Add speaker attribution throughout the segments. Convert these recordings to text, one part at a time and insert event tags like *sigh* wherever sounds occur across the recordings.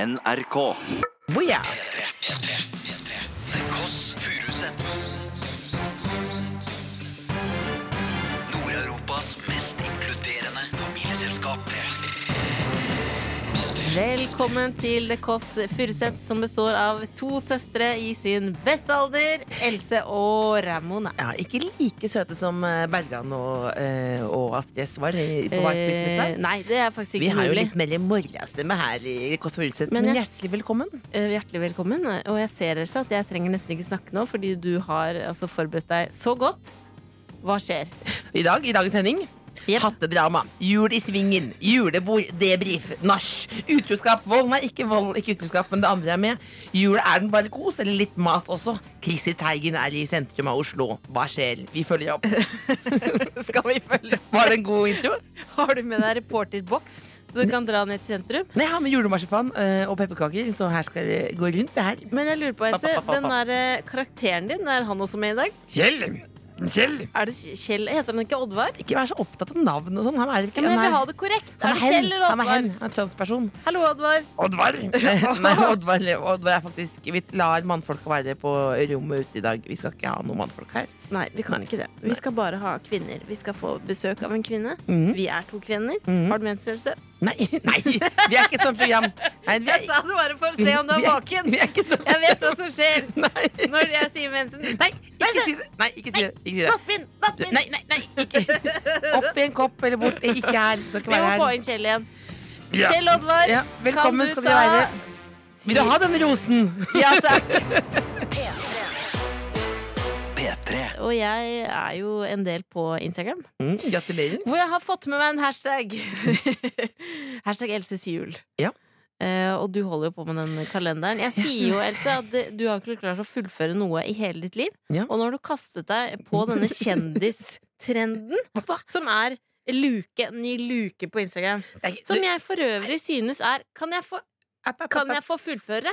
Speaker 1: NRK.
Speaker 2: Booyah!
Speaker 1: The Kåss Furuseths. Nord-Europas mest inkluderende familieselskap.
Speaker 2: Velkommen til The Kåss Furuseth, som består av to søstre i sin beste alder, Else og Ramona.
Speaker 3: Ja, ikke like søte som eh, Bergan og, eh, og Astrid S var i- på White Christmas
Speaker 2: Eh,
Speaker 3: der.
Speaker 2: nei, det er faktisk
Speaker 3: Vi
Speaker 2: ikke
Speaker 3: har jo
Speaker 2: mulig.
Speaker 3: litt mer morgenstemme her i Kåss Furuseth,
Speaker 2: Men
Speaker 3: men
Speaker 2: jeg-
Speaker 3: hjertelig velkommen.
Speaker 2: Eh, Hjertelig velkommen. Og jeg ser Else, at jeg trenger nesten ikke snakke nå, fordi du har altså, forberedt deg så godt.
Speaker 3: *laughs*
Speaker 2: Hva skjer?
Speaker 3: I dag, i dagens sending,
Speaker 2: Jep.
Speaker 3: hattedrama, jul i svingen, julebord, debrief, nach, utroskap, vold, nei, ikke vold, ikke utroskap, men det andre er med. Jul er den bare kos, eller litt mas også. Chrissy Teigen er i sentrum av Oslo. Hva skjer? Vi følger
Speaker 2: *laughs*
Speaker 3: opp.
Speaker 2: Skal vi følge
Speaker 3: Var det en god intro?
Speaker 2: Har du med deg reporterboks, så du kan dra ned til sentrum?
Speaker 3: Nei, jeg har med julemarsipan eh, og pepperkaker, så her skal det gå rundt det her.
Speaker 2: Men jeg lurer på, Else,
Speaker 3: Papp, papp, papp,
Speaker 2: den der eh, karakteren din, er han også med i dag?
Speaker 3: Kjell! Kjell!
Speaker 2: Er det Kjell? Heter han ikke Oddvar?
Speaker 3: Ikke vær så opptatt av navn og sånn. Han er,
Speaker 2: Ja, men jeg
Speaker 3: han
Speaker 2: vil
Speaker 3: er,
Speaker 2: ha det korrekt.
Speaker 3: han
Speaker 2: Er
Speaker 3: er
Speaker 2: det
Speaker 3: hen.
Speaker 2: Kjell eller
Speaker 3: Han er hen.
Speaker 2: Oddvar?
Speaker 3: Han er transperson.
Speaker 2: Hallo, Oddvar.
Speaker 3: Oddvar! *laughs* Nei, Oddvar, Oddvar er faktisk Vi lar mannfolka være på rommet ute i dag. Vi skal ikke ha noen mannfolk her.
Speaker 2: Nei, vi kan ikke det. Vi skal bare ha kvinner. Vi skal få besøk av en kvinne.
Speaker 3: Mm.
Speaker 2: Vi er to kvinner. Har du menstrelse?
Speaker 3: *laughs* Nei, nei! Vi er ikke et sånt program. Nei, vi
Speaker 2: Jeg sa det bare for å se om du er
Speaker 3: vi
Speaker 2: våken.
Speaker 3: Vi er ikke sånn.
Speaker 2: *laughs* Jeg vet hva som skjer
Speaker 3: *laughs* Nei.
Speaker 2: når jeg sier
Speaker 3: *laughs*
Speaker 2: mensen.
Speaker 3: nei, ikke si det. Nei, ikke si det. Ikke si det.
Speaker 2: Nattbind! Nattbind!
Speaker 3: Nei, nei, nei, ikke *laughs* Opp i en kopp eller bort. Ikke her. Skal ikke
Speaker 2: Vi må
Speaker 3: være
Speaker 2: få
Speaker 3: her.
Speaker 2: inn Kjell igjen.
Speaker 3: Ja.
Speaker 2: Kjell Oddvar,
Speaker 3: Ja, velkommen skal
Speaker 2: kan du
Speaker 3: dere
Speaker 2: ta
Speaker 3: være. Vil du ha den rosen?
Speaker 2: Ja,
Speaker 3: *laughs*
Speaker 2: takk.
Speaker 1: P3.
Speaker 2: Og jeg er jo en del på Instagram,
Speaker 3: Mm, *laughs* gratulerer.
Speaker 2: hvor jeg har fått med meg en hashtag. *laughs* hashtag Elses jul.
Speaker 3: Ja.
Speaker 2: Eh, og du holder jo på med den kalenderen. Jeg sier jo, Else, at det- du har ikke klart å fullføre noe i hele ditt liv.
Speaker 3: Ja.
Speaker 2: Og nå har du kastet deg på denne kjendistrenden,
Speaker 3: *laughs* Hva da?
Speaker 2: som er luke, ny luke på Instagram.
Speaker 3: Det er ikke-
Speaker 2: Som jeg for øvrig synes er Kan jeg få,
Speaker 3: App, app,
Speaker 2: kan
Speaker 3: app,
Speaker 2: jeg få fullføre?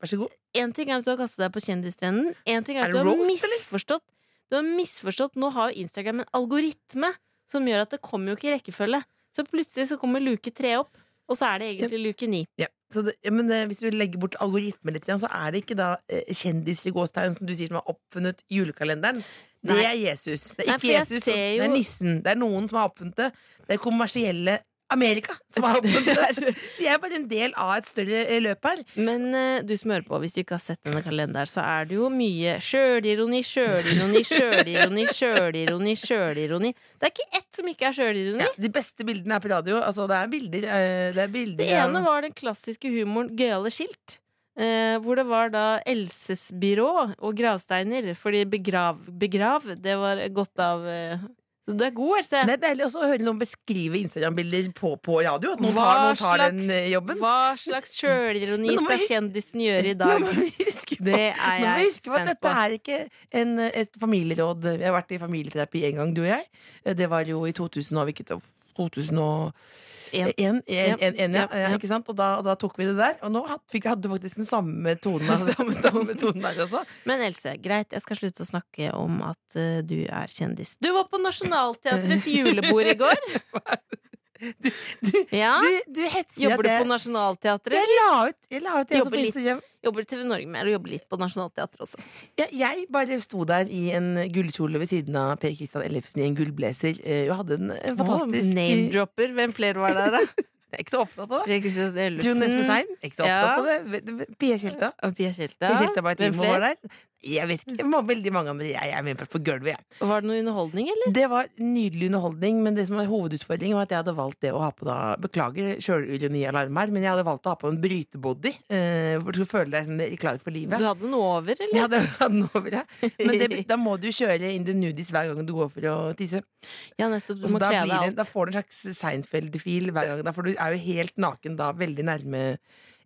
Speaker 3: Vær så god.
Speaker 2: Én ting er at du har kastet deg på kjendistrenden. En ting
Speaker 3: Er
Speaker 2: er at
Speaker 3: det
Speaker 2: du har
Speaker 3: roast, eller?
Speaker 2: misforstått. Du har misforstått Nå har jo Instagram en algoritme som gjør at det kommer jo ikke i rekkefølge. Så plutselig så kommer luke tre opp, og så er det egentlig luke ni.
Speaker 3: Ja. Så det, ja, men eh, hvis du legger bort algoritmen litt, så er det ikke da eh, kjendiser i gåstegn som du sier som har oppfunnet julekalenderen. Det
Speaker 2: Nei.
Speaker 3: er Jesus. Det er
Speaker 2: Nei,
Speaker 3: ikke
Speaker 2: for jeg
Speaker 3: Jesus,
Speaker 2: ser
Speaker 3: det er
Speaker 2: jo-
Speaker 3: nissen. Det er noen som har oppfunnet det. Det er kommersielle Amerika som har oppfunnet *laughs* det. Så jeg er bare en del av et større eh, løp her.
Speaker 2: Men eh, du som hører på, hvis du ikke har sett denne kalenderen, så er det jo mye sjølironi, sjølironi, sjølironi, sjølironi, sjølironi. Det er ikke ett som ikke er sjølironi.
Speaker 3: De beste bildene er på radio. Altså, det er bilder. eh, Det er bilder
Speaker 2: Det
Speaker 3: av-
Speaker 2: ene var den klassiske humoren gøyale skilt. Eh, hvor det var da Elses byrå og gravsteiner. Fordi begrav, begrav det var godt av eh, Så du er god, Else.
Speaker 3: Det er deilig også å høre noen beskrive Instagram-bilder på, på radio. At noen
Speaker 2: Hva
Speaker 3: tar, noen tar
Speaker 2: slags-
Speaker 3: den eh, jobben.
Speaker 2: Hva slags sjølironi
Speaker 3: Men *laughs* nå må
Speaker 2: skal
Speaker 3: vi-
Speaker 2: kjendisen gjøre i
Speaker 3: Nå
Speaker 2: dag?
Speaker 3: må vi huske på,
Speaker 2: Det er
Speaker 3: nå må vi
Speaker 2: jeg
Speaker 3: huske på at
Speaker 2: spent
Speaker 3: dette
Speaker 2: på.
Speaker 3: er ikke en, et familieråd. Vi har vært i familieterapi en gang, du og jeg. Det var jo i 2000 og hvilket år? 2001,
Speaker 2: En.
Speaker 3: en,
Speaker 2: Ja.
Speaker 3: en, en, ja,
Speaker 2: Ja, ja.
Speaker 3: Ikke sant? Og da, og da tok vi det der. Og nå had- fikk, hadde du faktisk den samme tonen, altså,
Speaker 2: *laughs*
Speaker 3: *laughs*
Speaker 2: Samme
Speaker 3: samme tonen der også.
Speaker 2: Men Else, greit, jeg skal slutte å snakke om at eh, du er kjendis. Du var
Speaker 3: *laughs*
Speaker 2: på Nationaltheatrets julebord i går. Ja.
Speaker 3: Du, du hetser
Speaker 2: Jobber du
Speaker 3: at
Speaker 2: på
Speaker 3: jeg-
Speaker 2: Nationaltheatret?
Speaker 3: jeg la ut, jeg la ut jeg,
Speaker 2: Jobber
Speaker 3: på
Speaker 2: litt.
Speaker 3: Instagram.
Speaker 2: Jobber TV Norge med, eller jobber litt på Nationaltheatret også?
Speaker 3: Ja, jeg bare sto der i en gullkjole ved siden av Per Kristian Ellefsen i en gullblazer. Eh, Og hadde en eh, fantastisk
Speaker 2: Å, Name-dropper. Hvem flere var der, da?
Speaker 3: Jeg er ikke så opptatt av det.
Speaker 2: Fredrik Kristiansen
Speaker 3: Trond Espen
Speaker 2: Ellefsen.
Speaker 3: Seim. Ikke så opptatt av det. V- v- Pia Kjelta.
Speaker 2: Og Pia Kjelta.
Speaker 3: Pia Kjelta
Speaker 2: Hvem
Speaker 3: Martimo
Speaker 2: flere?
Speaker 3: var der. Jeg vet ikke, det var veldig mange av dem. Jeg er med på gulvet, jeg.
Speaker 2: Var det noe underholdning, eller?
Speaker 3: Det var nydelig underholdning, men det som var hovedutfordringen var at jeg hadde valgt det å ha på da Beklager sjølironialarm her, men jeg hadde valgt å ha på en brytebody. eh, For du skulle føle deg som klar for livet.
Speaker 2: Du hadde noe over, eller?
Speaker 3: Ja, det hadde den over, ja. Men det, da må du kjøre in the nudies hver gang du går for å tisse.
Speaker 2: *laughs* Ja, nettopp. Du
Speaker 3: Og så Altså,
Speaker 2: må
Speaker 3: da,
Speaker 2: kle
Speaker 3: blir det,
Speaker 2: deg
Speaker 3: da
Speaker 2: alt.
Speaker 3: får du en slags Seinfeld-fil hver gang. Da, for du er jo helt naken da, veldig nærme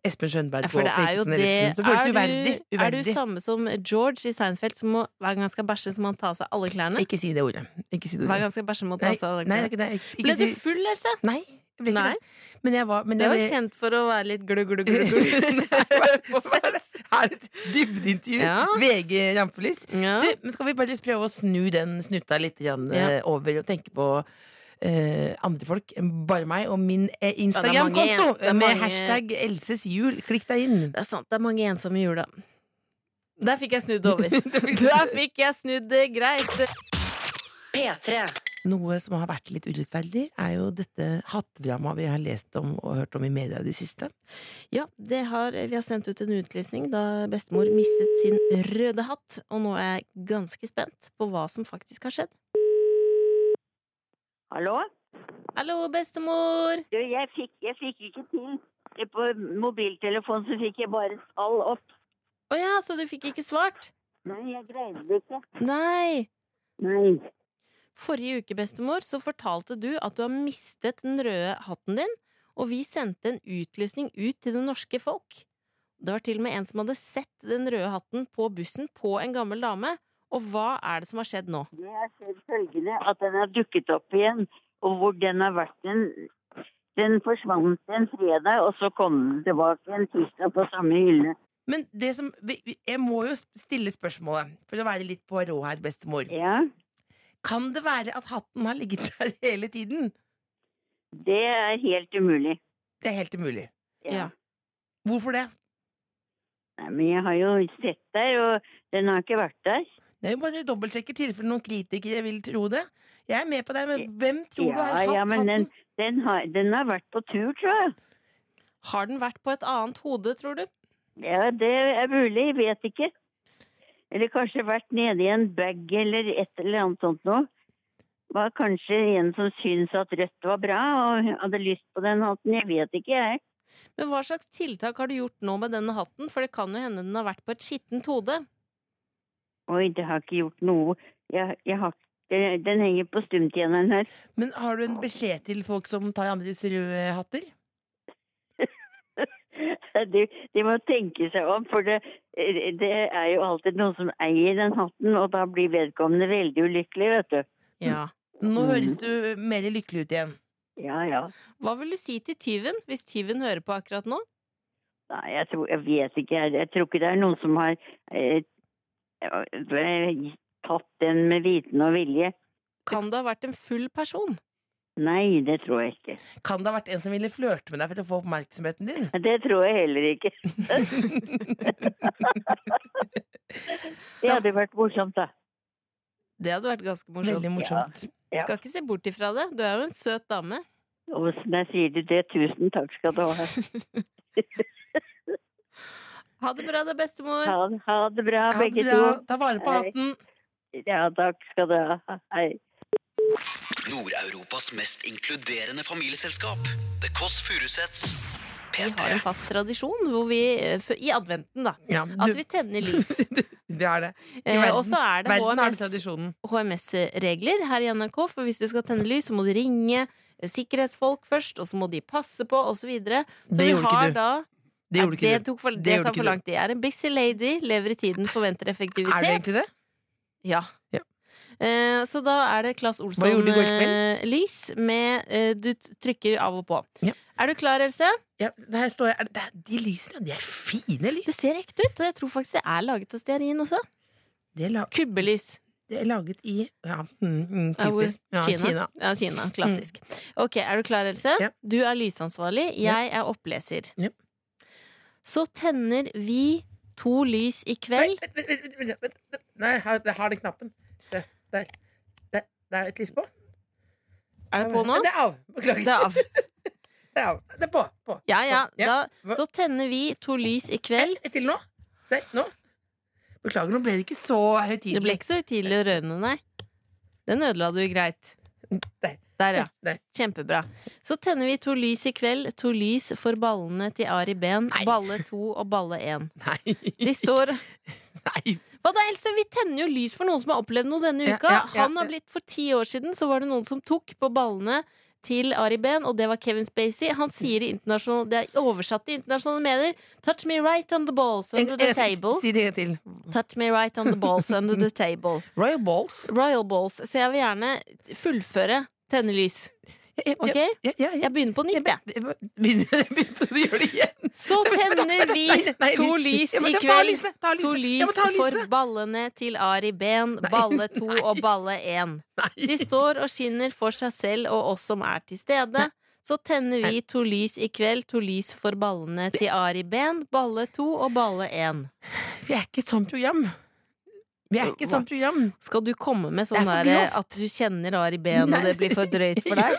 Speaker 3: Espen Skjønberg.
Speaker 2: Ja, for
Speaker 3: og
Speaker 2: det er jo
Speaker 3: Kristian
Speaker 2: det
Speaker 3: Ellefsen. Så føles det uverdig.
Speaker 2: du, er du
Speaker 3: uverdig.
Speaker 2: samme som George i Seinfeld, som må, hver gang han skal bæsje, så må han ta av seg alle klærne?
Speaker 3: Ikke si det ordet. Ikke si det
Speaker 2: Hver gang
Speaker 3: ordet.
Speaker 2: han skal bæsje, må han ta
Speaker 3: Nei,
Speaker 2: av seg alle
Speaker 3: nei, det er
Speaker 2: klærne.
Speaker 3: ikke det. Ikke,
Speaker 2: Ble
Speaker 3: ikke
Speaker 2: du
Speaker 3: si
Speaker 2: full, Else?
Speaker 3: Nei. jeg ble ikke
Speaker 2: Nei.
Speaker 3: det. Men jeg var, men
Speaker 2: Du
Speaker 3: jeg
Speaker 2: er
Speaker 3: ble- *laughs*
Speaker 2: jo kjent for å være litt *laughs* glugg-glugg-glugg. på fest.
Speaker 3: Her er et dybdeintervju.
Speaker 2: Ja.
Speaker 3: VG rampelys.
Speaker 2: Ja.
Speaker 3: Du, men skal vi bare prøve å snu den snutta litt grann,
Speaker 2: Ja.
Speaker 3: eh, over og tenke på eh, andre folk enn bare meg og min eh,
Speaker 2: det er mange-
Speaker 3: Instagram-konto
Speaker 2: det er
Speaker 3: med
Speaker 2: mange-
Speaker 3: hashtag Elses jul. Klikk deg inn.
Speaker 2: Det er sant, det er mange ensomme i jula. Der fikk jeg snudd
Speaker 3: *laughs*
Speaker 2: over. *laughs* Der fikk jeg snudd det greit.
Speaker 4: P3.
Speaker 3: Noe som har vært litt urettferdig, er jo dette hattedramaet vi har lest om og hørt om i media i det siste.
Speaker 2: Ja, det har, vi har sendt ut en utlysning da bestemor mistet sin røde hatt. Og nå er jeg ganske spent på hva som faktisk har skjedd.
Speaker 5: Hallo?
Speaker 2: Hallo, bestemor!
Speaker 5: Du, jeg fikk, jeg fikk ikke til. Eh, På mobiltelefonen så fikk jeg bare tall opp.
Speaker 2: Å ja, så du fikk ikke svart?
Speaker 5: Nei, jeg greide det ikke.
Speaker 2: Nei.
Speaker 5: Nei.
Speaker 2: Forrige uke, bestemor, så fortalte du at du har mistet den røde hatten din, og vi sendte en utlysning ut til det norske folk. Det var til og med en som hadde sett den røde hatten på bussen på en gammel dame. Og hva er det som har skjedd nå?
Speaker 5: Det har skjedd følgende at den har dukket opp igjen, og hvor den har vært en Den forsvant en fredag, og så kom den tilbake en tirsdag på samme hylle.
Speaker 3: Men det som, vi- vi- jeg må jo stille spørsmålet, for å være litt på rå her, bestemor.
Speaker 5: Ja,
Speaker 3: Kan det være at hatten har ligget der *laughs* hele tiden?
Speaker 5: det er helt umulig.
Speaker 3: Det er helt umulig.
Speaker 2: Ja.
Speaker 3: Hvorfor det?
Speaker 5: Nei, men jeg har jo sett der, og den har ikke vært der.
Speaker 3: Det er jo bare dobbeltsjekker i tilfelle noen kritikere vil tro det. Jeg er med på det, men hvem tror du har
Speaker 5: ja,
Speaker 3: hatt
Speaker 5: ja, men den,
Speaker 3: hatten?
Speaker 5: den, har, den har vært på tur, tror jeg.
Speaker 2: Har den vært på et annet hode, tror du?
Speaker 5: Ja, det er mulig. Jeg vet ikke. Eller kanskje vært nede i en bag eller et eller annet sånt noe. Var kanskje en som syntes at rødt var bra og hadde lyst på den hatten. Jeg vet ikke, jeg.
Speaker 2: Men hva slags tiltak har du gjort nå med denne hatten? For det kan jo hende den har vært på et skittent hode.
Speaker 5: Oi, det har ikke gjort noe. Jeg, jeg har, den, den henger på stumtjeneren her. *laughs*
Speaker 3: Men har du en beskjed til folk som tar andres røde hatter?
Speaker 5: De, de må tenke seg om, for det, det er jo alltid noen som eier den hatten, og da blir vedkommende veldig ulykkelig, vet du.
Speaker 2: Ja.
Speaker 3: Nå
Speaker 5: Mm.
Speaker 3: høres du mer lykkelig ut igjen.
Speaker 5: Ja, ja.
Speaker 2: Hva vil du si til tyven, hvis tyven hører på akkurat nå?
Speaker 5: Nei, jeg, tror, jeg vet ikke. Jeg, jeg tror ikke det er noen som har eh, eh, tatt den med viten og vilje.
Speaker 2: Kan det ha vært en full person?
Speaker 5: Nei, det tror jeg ikke.
Speaker 3: Kan det ha vært en som ville flørte med deg for å få oppmerksomheten din?
Speaker 5: Det tror jeg heller ikke. Det hadde vært morsomt, da.
Speaker 2: Det hadde vært ganske morsomt.
Speaker 3: Veldig morsomt.
Speaker 5: Ja.
Speaker 2: Skal ikke se bort ifra det. Du er jo en søt dame.
Speaker 5: Og der sier du det. Tusen takk skal du ha.
Speaker 2: Ha det bra, da, bestemor.
Speaker 5: Ha, ha det bra,
Speaker 3: Ha det
Speaker 5: begge
Speaker 3: bra.
Speaker 5: to.
Speaker 3: Ta vare på
Speaker 5: Hei.
Speaker 3: hatten.
Speaker 5: Ja, takk skal du ha. Hei.
Speaker 1: Nord-Europas mest inkluderende familieselskap. The Kåss Furuseths.
Speaker 2: Vi har
Speaker 1: P3.
Speaker 2: en fast tradisjon hvor vi, eh, f- i adventen, da,
Speaker 3: Ja,
Speaker 2: at
Speaker 3: *laughs* du,
Speaker 2: vi tenner lys.
Speaker 3: det er det.
Speaker 2: Eh,
Speaker 3: verden-
Speaker 2: Og så er det
Speaker 3: Verden har den
Speaker 2: HMS
Speaker 3: tradisjonen.
Speaker 2: HMS-regler her i NRK, for hvis du skal tenne lys, så må du ringe eh, sikkerhetsfolk først, og så må de passe på, osv. Så, videre. så
Speaker 3: Det
Speaker 2: vi
Speaker 3: gjorde
Speaker 2: har
Speaker 3: ikke du.
Speaker 2: da
Speaker 3: Det gjorde
Speaker 2: ja,
Speaker 3: ikke
Speaker 2: det
Speaker 3: du.
Speaker 2: tok for,
Speaker 3: Det
Speaker 2: det
Speaker 3: gjorde
Speaker 2: sa
Speaker 3: ikke
Speaker 2: for
Speaker 3: du.
Speaker 2: langt. Jeg er en busy lady, lever i tiden, forventer effektivitet.
Speaker 3: Er du egentlig det?
Speaker 2: Ja.
Speaker 3: Ja.
Speaker 2: Eh, så da er det Claes Olsson
Speaker 3: gjorde du i går
Speaker 2: eh, lys med eh, Du t- trykker av og på.
Speaker 3: Ja.
Speaker 2: Er du klar, Else?
Speaker 3: Ja, der står jeg. Er det- det- De lysene, de er fine lys.
Speaker 2: Det ser ekte ut, og jeg tror faktisk det er laget av stearin også.
Speaker 3: De er, la,
Speaker 2: Kubbelys.
Speaker 3: de er laget i ja, mm, mm,
Speaker 2: Ja, hvor-
Speaker 3: typisk. Ja,
Speaker 2: Kina.
Speaker 3: Kina. Mm.
Speaker 2: Ja, Kina. Klassisk. Ok, er du klar, Else?
Speaker 3: Ja.
Speaker 2: Du er lysansvarlig, jeg er oppleser.
Speaker 3: Ja.
Speaker 2: Så tenner vi to lys i kveld.
Speaker 3: Vent, vent, vent, vent, vent, vent. Nei, jeg har, jeg har den knappen. Der. Der. Der, der er et lys på.
Speaker 2: Er det på nå?
Speaker 3: Det er av. Beklager.
Speaker 2: Det er av.
Speaker 3: *laughs* Det er, av. Det er på. på. Sånn.
Speaker 2: Ja, ja.
Speaker 3: Ja.
Speaker 2: Da,
Speaker 3: Hva-
Speaker 2: så tenner vi to lys i kveld.
Speaker 3: Et til nå. Der, nå. Beklager, nå ble det ikke så
Speaker 2: Det
Speaker 3: høytidelig.
Speaker 2: ble ikke så tidlig og rørende, nei. Den ødela du greit.
Speaker 3: Der.
Speaker 2: Der, ja.
Speaker 3: Der.
Speaker 2: Kjempebra. Så tenner vi to lys i kveld. To lys for ballene til Ari Behn.
Speaker 3: Nei.
Speaker 2: Balle to og balle én.
Speaker 3: Nei.
Speaker 2: *laughs* De står
Speaker 3: Nei.
Speaker 2: Hva da, Else? Vi tenner jo lys for noen som har opplevd noe denne
Speaker 3: Ja,
Speaker 2: uka.
Speaker 3: ja, ja,
Speaker 2: Han har
Speaker 3: ja.
Speaker 2: blitt For ti år siden så var det noen som tok på ballene til Ari Behn, og det var Kevin Spacey. Han sier i internasjonal- det er oversatt i internasjonale medier 'Touch me right on the balls under the table'.
Speaker 3: Si det en gang til.
Speaker 2: Touch me right on the balls under the table.
Speaker 3: Royal balls.
Speaker 2: Royal balls. Så jeg vil gjerne fullføre tenne lys. Ok?
Speaker 3: Ja, ja, ja.
Speaker 2: Jeg begynner på nytt, jeg.
Speaker 3: Begynner *laughs* begynner å gjøre det igjen?
Speaker 2: Så tenner
Speaker 3: *laughs*
Speaker 2: vi
Speaker 3: Nei, nei, nei,
Speaker 2: to
Speaker 3: vi-
Speaker 2: lys
Speaker 3: Ja, men ta
Speaker 2: i kveld.
Speaker 3: lysene, ta
Speaker 2: To
Speaker 3: lysene. Ja,
Speaker 2: lys
Speaker 3: men ta
Speaker 2: for
Speaker 3: lysene.
Speaker 2: ballene til Ari Ben, balle
Speaker 3: *laughs*
Speaker 2: to og balle én.
Speaker 3: Nei. *laughs*
Speaker 2: De står og skinner for seg selv og oss som er til stede. Så tenner vi to lys i kveld, to lys for ballene til Ari Ben, balle to og balle én.
Speaker 3: Vi er ikke et sånt program. Vi er ikke et sånt program.
Speaker 2: Skal du komme med sånn
Speaker 3: Det er for
Speaker 2: der
Speaker 3: grovt.
Speaker 2: at du kjenner Ari Ben, og
Speaker 3: Nei.
Speaker 2: Eh, det blir for drøyt for deg?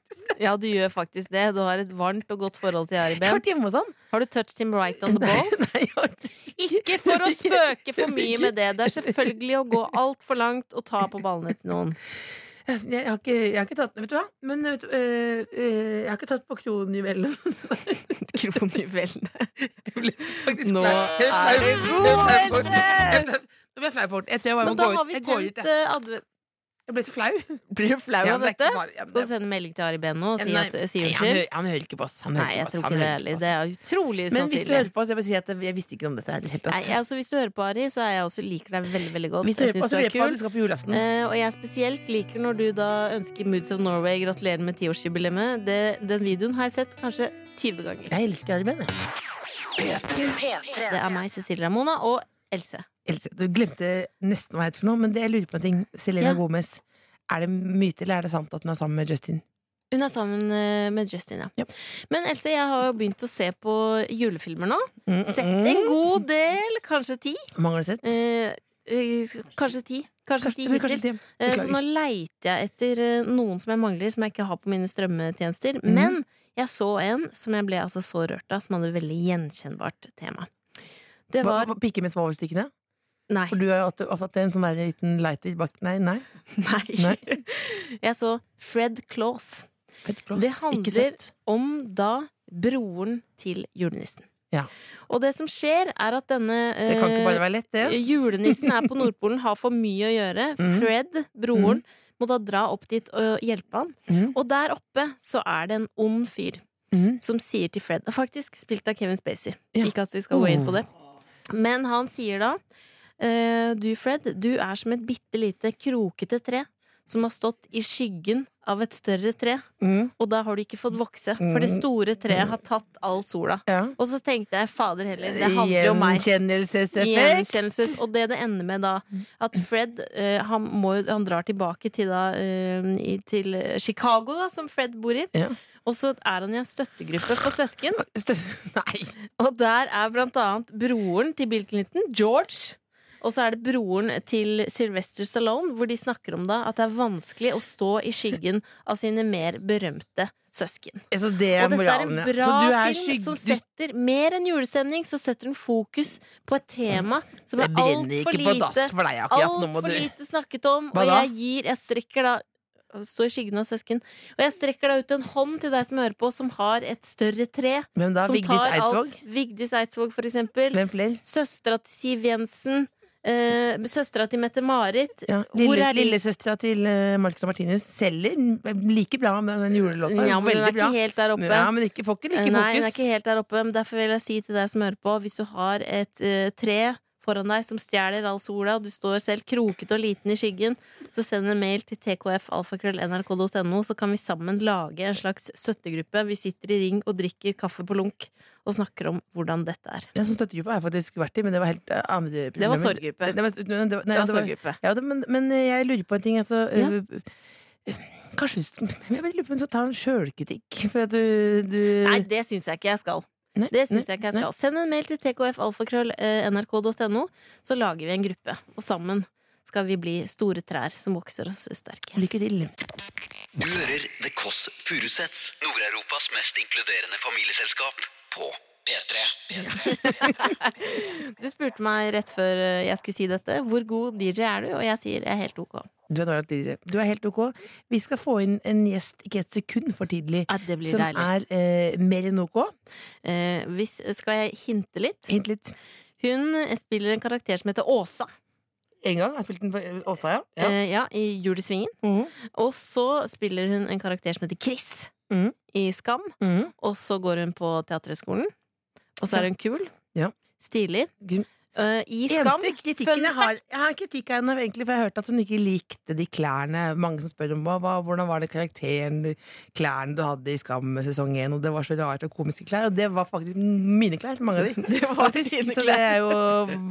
Speaker 3: *laughs* Jeg gjør faktisk det.
Speaker 2: Ja, du gjør faktisk det. Du har et varmt og godt forhold til
Speaker 3: Jeg
Speaker 2: Ari
Speaker 3: har
Speaker 2: Ben.
Speaker 3: vært hjemme hos *laughs* han.
Speaker 2: Har du touched him right on the
Speaker 3: Nei,
Speaker 2: sånn. balls?
Speaker 3: nei, jeg har-
Speaker 2: Ikke for å spøke for mye med det. *laughs* Det er selvfølgelig å gå altfor langt og ta på ballene til noen.
Speaker 3: Jeg har ikke, jeg har ikke tatt Vet du hva? Men vet du, øh, øh, jeg har ikke tatt på kronjuvelen.
Speaker 2: *laughs* Kronjuvelene.
Speaker 3: Faktisk
Speaker 2: Nå
Speaker 3: flau. Jeg
Speaker 2: er
Speaker 3: flau.
Speaker 2: det god
Speaker 3: Jeg flau fort. Jeg flau-
Speaker 2: helse!
Speaker 3: Nå ble jeg flau fort. Jeg tror jeg bare
Speaker 2: Men
Speaker 3: må
Speaker 2: da
Speaker 3: gå
Speaker 2: har
Speaker 3: ut.
Speaker 2: vi
Speaker 3: Jeg går ut,
Speaker 2: tent
Speaker 3: jeg.
Speaker 2: eh, advent...
Speaker 3: Jeg ble så flau.
Speaker 2: Blir du flau
Speaker 3: Ja, men
Speaker 2: av
Speaker 3: det er
Speaker 2: dette?
Speaker 3: ikke bare- ja, men
Speaker 2: Skal du
Speaker 3: det-
Speaker 2: sende melding til Ari Behn nå og si
Speaker 3: Nei,
Speaker 2: at eh, si
Speaker 3: nei, han,
Speaker 2: unnskyld?
Speaker 3: hører, han hører ikke på oss. Han hører
Speaker 2: Nei,
Speaker 3: ikke på
Speaker 2: jeg
Speaker 3: oss.
Speaker 2: tror
Speaker 3: Han
Speaker 2: ikke det
Speaker 3: hører
Speaker 2: heller.
Speaker 3: på
Speaker 2: Det
Speaker 3: oss.
Speaker 2: er utrolig
Speaker 3: Men hvis du hører
Speaker 2: usannsynlig.
Speaker 3: på oss, jeg vil si at jeg visste ikke noe om dette her i det hele tatt.
Speaker 2: Nei, jeg- altså, hvis du hører på, Ari, så er jeg også liker deg veldig veldig godt.
Speaker 3: Hvis du
Speaker 2: Jeg
Speaker 3: hører på oss,
Speaker 2: syns altså, du
Speaker 3: så blir
Speaker 2: er
Speaker 3: jeg på
Speaker 2: kul.
Speaker 3: du skal på julaften.
Speaker 2: Eh, og jeg spesielt liker når du da ønsker Moods of Norway gratulerer med tiårsjubileet. Det- Den videoen har jeg sett kanskje 20 ganger.
Speaker 3: Jeg elsker Arben. jeg.
Speaker 2: Det er meg, Cecilie Ramona, og Else.
Speaker 3: Else, du glemte nesten hva jeg heter for noe, men det jeg lurer på en ting. Selena
Speaker 2: Ja.
Speaker 3: Gomez. Er det myte, eller er det sant at hun er sammen med Justin?
Speaker 2: Hun er sammen eh, med Justin, ja.
Speaker 3: Ja.
Speaker 2: Men Else, jeg har jo begynt å se på julefilmer nå.
Speaker 3: Mm,
Speaker 2: Sett en god del, kanskje ti.
Speaker 3: Mangler sett?
Speaker 2: Eh, eh, kanskje ti. Kanskje ti
Speaker 3: Kanskje- kanskje
Speaker 2: hittil.
Speaker 3: det.
Speaker 2: Eh, så
Speaker 3: Beklager.
Speaker 2: nå leiter jeg etter eh, noen som jeg mangler, som jeg ikke har på mine strømmetjenester.
Speaker 3: Mhm.
Speaker 2: Men jeg så en som jeg ble altså så rørt av, som hadde veldig gjenkjennbart tema. Det
Speaker 3: Hva-
Speaker 2: var
Speaker 3: hva- Piker med småoverstikkene?
Speaker 2: Nei. *laughs*
Speaker 3: For du har jo hatt, hatt en sånn der liten lighter bak Nei, nei.
Speaker 2: nei. jeg så Fred Claus.
Speaker 3: Fett kloss.
Speaker 2: Det
Speaker 3: Ikke
Speaker 2: handler
Speaker 3: sett.
Speaker 2: om da broren til julenissen.
Speaker 3: Ja.
Speaker 2: Og det som skjer, er at denne
Speaker 3: Det kan ikke
Speaker 2: eh,
Speaker 3: bare være lett, det.
Speaker 2: julenissen er på Nordpolen, har for mye å gjøre.
Speaker 3: Mhm.
Speaker 2: Fred, broren, må da dra opp dit og hjelpe han.
Speaker 3: Mhm.
Speaker 2: Og der oppe så er det en ond fyr
Speaker 3: Mhm.
Speaker 2: som sier til Fred Faktisk spilt av Kevin Spacey.
Speaker 3: Ja.
Speaker 2: Ikke at vi skal gå inn på
Speaker 3: Oh.
Speaker 2: det. Men han sier da eh, Du, Fred, du er som et bitte lite krokete tre som har stått i skyggen av et større tre.
Speaker 3: Mm.
Speaker 2: Og da har du ikke fått vokse, for det store treet har tatt all sola.
Speaker 3: Ja.
Speaker 2: Og så tenkte jeg fader heller, det handler jo om meg.
Speaker 3: Gjenkjennelseseffekt.
Speaker 2: Gjenkjennelses. Og det det ender med da, at Fred eh, han, må, jo- han drar tilbake til, da, eh, i, til eh, Chicago, da, som Fred bor i.
Speaker 3: Ja.
Speaker 2: Og så er han i en støttegruppe for søsken.
Speaker 3: Stø- *laughs* Nei!
Speaker 2: Og der er blant annet broren til Bill Clinton, George. Og så er det broren til Sylvester Stallone, hvor de snakker om da at det er vanskelig å stå i skyggen av sine mer berømte søsken.
Speaker 3: Altså, det er
Speaker 2: Og dette er en
Speaker 3: moralen, ja.
Speaker 2: bra
Speaker 3: Så du er
Speaker 2: film
Speaker 3: skygg-
Speaker 2: som
Speaker 3: du-
Speaker 2: setter mer enn julestemning, så setter den fokus på et tema som
Speaker 3: Det
Speaker 2: er
Speaker 3: brenner
Speaker 2: altfor
Speaker 3: ikke på
Speaker 2: lite,
Speaker 3: dass for deg akkurat nå, må du
Speaker 2: altfor lite snakket om.
Speaker 3: Hva
Speaker 2: Og
Speaker 3: da?
Speaker 2: jeg gir, jeg strekker da Stå i skyggen av søsken. Og jeg strekker da ut en hånd til deg som hører på, som har et større tre.
Speaker 3: Hvem da?
Speaker 2: Som
Speaker 3: Vigdis
Speaker 2: tar
Speaker 3: Eidsvåg?
Speaker 2: alt. Vigdis Eidsvåg, for eksempel.
Speaker 3: Hvem flere?
Speaker 2: Søstera til Siv Jensen. Eh, Søstera til Mette-Marit.
Speaker 3: Ja.
Speaker 2: Hvor
Speaker 3: Lille,
Speaker 2: er de?
Speaker 3: Lillesøstera til uh, Marcus og Martinus selger n- like bra med den julelåta.
Speaker 2: Ja, men hun er
Speaker 3: Veldig bra.
Speaker 2: ikke helt der oppe.
Speaker 3: Ja, men ikke, får ikke like
Speaker 2: Eh, Nei, hun er
Speaker 3: fokus.
Speaker 2: ikke helt der oppe, men derfor vil jeg si til deg som hører på, hvis du har et eh, tre foran deg som stjeler all sola, og du står selv kroket og liten i skyggen, så send en mail til tkfalfakrøll.nrk.no, så kan vi sammen lage en slags støttegruppe. Vi sitter i ring og drikker kaffe på lunk og snakker om hvordan dette er.
Speaker 3: Ja, som støttegruppe har jeg faktisk vært i, men det var helt eh, andre
Speaker 2: Det var
Speaker 3: problemer.
Speaker 2: sorggruppe.
Speaker 3: Det, det var, nei, det var,
Speaker 2: Det var
Speaker 3: det var-
Speaker 2: sorggruppe.
Speaker 3: Ja, det, men, men eh, jeg lurer på en ting. Altså,
Speaker 2: Ja.
Speaker 3: øh, øh, kanskje du *laughs* jeg lurer på om du skal ta en sjølkritikk. For at du, du
Speaker 2: Nei, det syns jeg ikke jeg skal.
Speaker 3: Nei,
Speaker 2: Det synes
Speaker 3: nei,
Speaker 2: jeg ikke jeg
Speaker 3: nei.
Speaker 2: skal Send en mail til tkfalfakrøll.nrk.no, så lager vi en gruppe. Og sammen skal vi bli store trær som vokser oss sterke.
Speaker 3: Lykke til.
Speaker 1: Du hører The Kåss Furuseths, Nord-Europas mest inkluderende familieselskap, på P3.
Speaker 2: Du spurte meg rett før eh, jeg skulle si dette, hvor god DJ er du? Og jeg sier jeg er helt ok.
Speaker 3: Du er, Nora Tidje. du er helt ok. Vi skal få inn en gjest ikke et sekund for tidlig.
Speaker 2: Ja, det blir
Speaker 3: Som
Speaker 2: deilig.
Speaker 3: er eh, mer enn ok.
Speaker 2: Eh, hvis, skal jeg hinte litt?
Speaker 3: Hint litt.
Speaker 2: Hun spiller en karakter som heter Åsa.
Speaker 3: En gang har jeg spilt den på eh, Åsa, ja. ja.
Speaker 2: eh, ja, Mhm. I Julesvingen. Og så spiller hun en karakter som heter Chris
Speaker 3: Mhm.
Speaker 2: i Skam.
Speaker 3: Mhm.
Speaker 2: Og så går hun på Teaterhøgskolen. Og så er hun kul.
Speaker 3: Ja.
Speaker 2: Stilig.
Speaker 3: Gud,
Speaker 2: Eh, I Skam
Speaker 3: Eneste kritikken
Speaker 2: fun
Speaker 3: jeg har, jeg har kritikk av henne, egentlig, for jeg hørte at hun ikke likte de klærne. Mange som spør om hva, hva- hvordan var det karakteren, klærne du hadde i Skam sesong 1, og det var så rart og komiske klær. Og det var faktisk mine klær, mange av de.
Speaker 2: *laughs* Det var
Speaker 3: Faktisk,
Speaker 2: dine
Speaker 3: så det er, jo,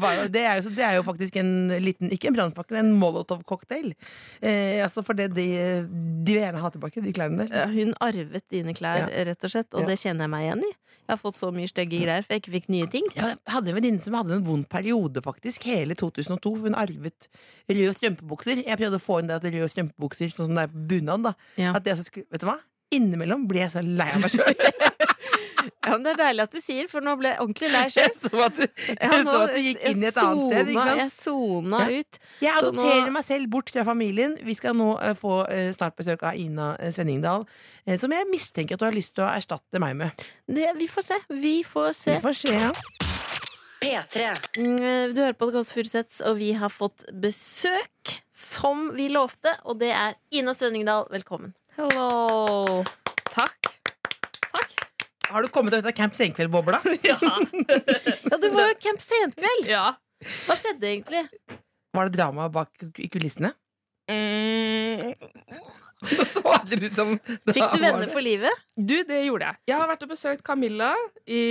Speaker 3: var, det, er jo, så det er jo faktisk en liten, ikke en brannpakke, en molotov-cocktail. Eh, altså for det, de, de vil gjerne ha tilbake, de klærne der.
Speaker 2: Ja, Hun arvet dine klær, rett og slett, og
Speaker 3: Ja.
Speaker 2: det kjenner jeg meg igjen i. Jeg har fått så mye stygge greier, for jeg ikke fikk nye ting.
Speaker 3: Ja, jeg hadde en venninne som hadde en vond periode faktisk hele 2002. for Hun arvet røde strømpebukser. Jeg prøvde å få inn det at røde strømpebukser sånn som det er på bunad. da
Speaker 2: Ja.
Speaker 3: At jeg så skulle, Vet du hva? Innimellom ble jeg så lei av meg
Speaker 2: *laughs*
Speaker 3: sjøl.
Speaker 2: Ja, men det er deilig at du sier, for nå ble jeg ordentlig
Speaker 3: *laughs*
Speaker 2: lei sjøl.
Speaker 3: Jeg så at, jeg så at du gikk inn i et annet sted. ikke sant?
Speaker 2: Jeg sona ut.
Speaker 3: Jeg
Speaker 2: Så nå-
Speaker 3: adopterer meg selv bort fra familien. Vi skal nå eh, få eh, snart besøk av Ina eh, Svenningdal, eh, som jeg mistenker at du har lyst til å erstatte meg med.
Speaker 2: Det, vi får se. Vi får se.
Speaker 3: Vi får se, ja.
Speaker 4: P3.
Speaker 2: Mm, Du hører på Det Kåss Furuseths, og vi har fått besøk, som vi lovte. Og det er Ina Svenningdal. Velkommen.
Speaker 6: Hello. Takk.
Speaker 3: Har du kommet deg ut av Camp Senkveld-bobla?
Speaker 2: *laughs* Ja, du var jo camp senkveld.
Speaker 6: Ja.
Speaker 2: Hva skjedde
Speaker 3: *laughs*
Speaker 2: egentlig?
Speaker 3: Var det drama bak i
Speaker 2: *laughs*
Speaker 3: kulissene?
Speaker 6: Mm,
Speaker 3: Da svarer du
Speaker 2: liksom-
Speaker 3: som da
Speaker 2: Fikk du
Speaker 3: var
Speaker 2: venner
Speaker 3: det-
Speaker 2: for livet?
Speaker 6: du, det gjorde jeg. Jeg har vært og besøkt Camilla i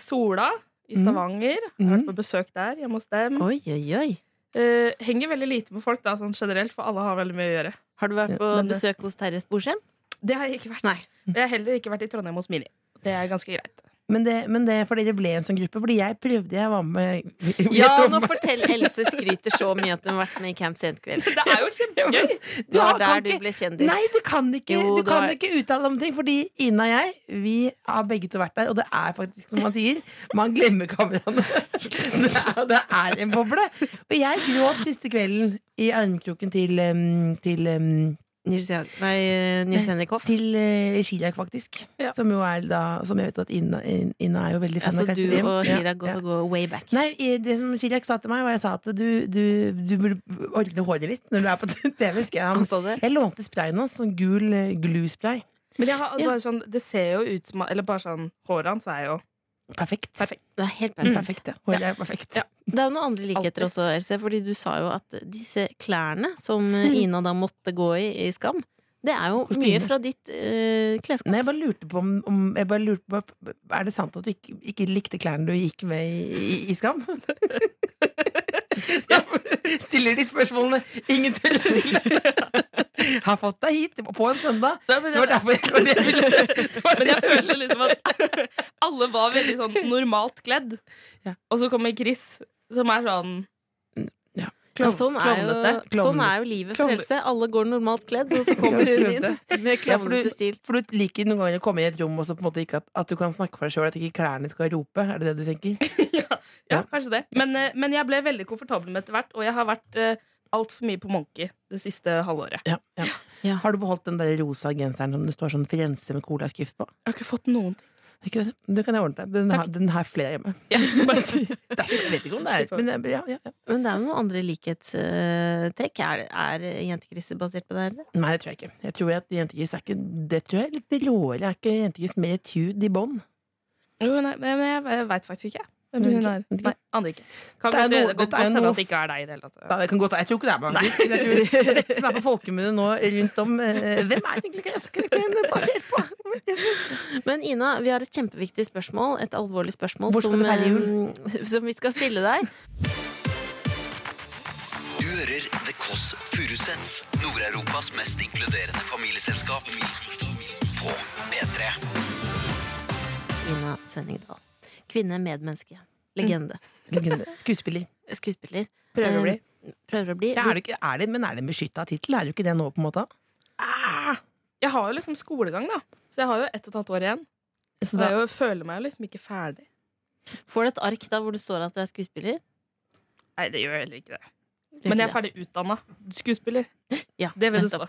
Speaker 6: Sola i Stavanger. Har
Speaker 3: Mhm.
Speaker 6: vært på besøk der hjemme hos dem.
Speaker 2: Oi, oi, oi.
Speaker 6: Eh, henger veldig lite med folk da, sånn generelt, for alle har veldig mye å gjøre.
Speaker 2: Har du vært på
Speaker 3: eh,
Speaker 6: men det-
Speaker 2: besøk hos Terje Sporsem?
Speaker 6: Det har jeg ikke vært. Og jeg har heller ikke vært i Trondheim hos Mini. Det er ganske greit.
Speaker 3: Men det, men det er fordi det ble en sånn gruppe. Fordi jeg prøvde, *laughs* jeg var med
Speaker 2: Ja, nå fortell Else skryter så mye at hun har vært med i Camp
Speaker 3: *laughs*
Speaker 2: Senkveld.
Speaker 6: Det er jo *laughs* kjempegøy!
Speaker 2: Det var
Speaker 3: har- kan
Speaker 2: der du
Speaker 3: ikke-
Speaker 2: ble kjendis.
Speaker 3: Nei, du kan ikke,
Speaker 2: Jo,
Speaker 3: du
Speaker 2: det
Speaker 3: kan
Speaker 2: var-
Speaker 3: ikke uttale om ting, fordi Ina og jeg Vi har begge to vært der, og det er faktisk som man sier, man glemmer kameraene. *laughs* Det er, det er en boble. Og jeg gråt siste kvelden i armkroken til, em, til em,
Speaker 2: Nils, Jag- nei, Nils Henrik Hoff.
Speaker 3: til eh, Chirag, faktisk.
Speaker 6: Ja.
Speaker 3: Som jo er da Som jeg vet at Ina, Ina er jo veldig fan
Speaker 2: Altså
Speaker 3: av.
Speaker 2: du
Speaker 3: Carpe Diem.
Speaker 2: og
Speaker 3: Ja,
Speaker 2: Chirag
Speaker 3: ja.
Speaker 2: også går way back.
Speaker 3: Nei, i- det som Chirag sa til meg, var jeg sa at du, du, du burde ordne håret ditt når du er på *laughs* TV. husker jeg
Speaker 2: Han
Speaker 3: han.
Speaker 2: sa det.
Speaker 3: Jeg lånte sprayen hans, sånn gul eh, gluspray.
Speaker 6: Men jeg har,
Speaker 2: Ja.
Speaker 6: bare sånn, det ser jo ut som Eller bare sånn Håret hans er jo
Speaker 3: Perfekt.
Speaker 6: Perfekt.
Speaker 2: Det er helt
Speaker 3: Mm.
Speaker 2: perfekt.
Speaker 3: Perfekt, ja. Håret er perfekt.
Speaker 6: Ja.
Speaker 2: Det er jo noen andre likheter
Speaker 6: Alltid.
Speaker 2: også, Else, fordi du sa jo at disse klærne som Ina da måtte gå i i Skam, det er jo
Speaker 3: Mm. Kostyme.
Speaker 2: mye fra ditt eh, klesskap.
Speaker 3: Nei, jeg bare lurte på om, om jeg bare lurte på, Er det sant at du ikke, ikke likte klærne du gikk med i, i, i Skam? *laughs* Jeg Stiller de spørsmålene ingen tør å stille. Har fått deg hit på en søndag.
Speaker 6: Nei, men
Speaker 3: Det var
Speaker 6: jeg,
Speaker 3: derfor jeg, det var det jeg ville. det var
Speaker 6: men
Speaker 3: det
Speaker 6: jeg føler liksom at *laughs* alle var veldig sånn normalt kledd.
Speaker 3: Ja.
Speaker 6: Og så kommer Chris, som er sånn
Speaker 3: ja.
Speaker 6: klov-
Speaker 2: Men sånn, er jo,
Speaker 6: klovnete.
Speaker 2: sånn er jo livet for
Speaker 6: Klovne-
Speaker 2: Else. Alle går normalt kledd, og så kommer hun inn med
Speaker 3: Ja, for du-
Speaker 2: klovnete stil.
Speaker 3: For du liker noen ganger å komme i et rom og så på en måte ikke at, at du kan snakke for deg sjøl, at ikke klærne skal rope. Er det det du tenker?
Speaker 6: ja, ja, kanskje det. Men, eh, men jeg ble veldig komfortabel med etter hvert, og jeg har vært eh, altfor mye på Monkey det siste halvåret.
Speaker 3: Ja, ja.
Speaker 2: Ja.
Speaker 3: Har du beholdt den der rosa genseren som det står sånn Firenze med colaskrift på?
Speaker 6: Jeg har ikke fått noen ting.
Speaker 3: Ikke det? Du kan jeg ordne deg. Den, har- den har flere hjemme.
Speaker 6: *laughs* Ja, men-
Speaker 3: Det er, jeg vet ikke om det er men, ja, ja, ja.
Speaker 2: Men det er jo noen andre likhetstrekk. Er, er jentekrisser basert på det? Else?
Speaker 3: Nei, det tror jeg ikke. Jeg tror at jentegris er ikke Det tror jeg er litt råere. Er ikke jentegris mer tud i bånd?
Speaker 6: Jo, nei, men jeg, jeg veit faktisk ikke. Hvem
Speaker 3: Vet
Speaker 6: hun
Speaker 3: ikke,
Speaker 6: er.
Speaker 3: vet ikke.
Speaker 6: Nei, aner ikke. Kan
Speaker 3: Det er
Speaker 6: godt
Speaker 3: noe-
Speaker 6: godt-
Speaker 3: dette er
Speaker 6: godt hende
Speaker 3: noe-
Speaker 6: at det ikke er deg i det hele
Speaker 3: Ja,
Speaker 6: tatt.
Speaker 3: det kan godt være. Jeg tror ikke det er meg. faktisk. Jeg tror, det er som er på folkemunne nå rundt om eh, Hvem er egentlig karakteren basert på? Jeg tror-
Speaker 2: *laughs* Men Ina, vi har et kjempeviktig spørsmål. Et alvorlig spørsmål
Speaker 3: Hvor skal
Speaker 2: som,
Speaker 3: du feire
Speaker 2: eh, *laughs* som vi skal stille deg.
Speaker 1: Du hører The Kåss Furuseths, Nord-Europas mest inkluderende familieselskap. På P3.
Speaker 2: Ina Svenningdal. Kvinne, medmenneske. Legende.
Speaker 3: Legende. Skuespiller.
Speaker 2: Skuespiller.
Speaker 6: Prøver å bli.
Speaker 2: Eh, Prøver å bli.
Speaker 3: Ja, er det, ikke- er det, men er det en beskytta tittel? Er det ikke det nå, på en måte?
Speaker 6: Ah, jeg har jo liksom skolegang, da. Så jeg har jo ett og et halvt år igjen.
Speaker 3: Så
Speaker 6: Så
Speaker 3: da,
Speaker 6: jeg jo, føler meg jo liksom ikke ferdig.
Speaker 2: Får du et ark da hvor det står at du er skuespiller?
Speaker 6: Nei, det gjør jeg heller ikke det. Men jeg er ferdig utdanna skuespiller.
Speaker 2: Ja,
Speaker 6: Det vil du stå.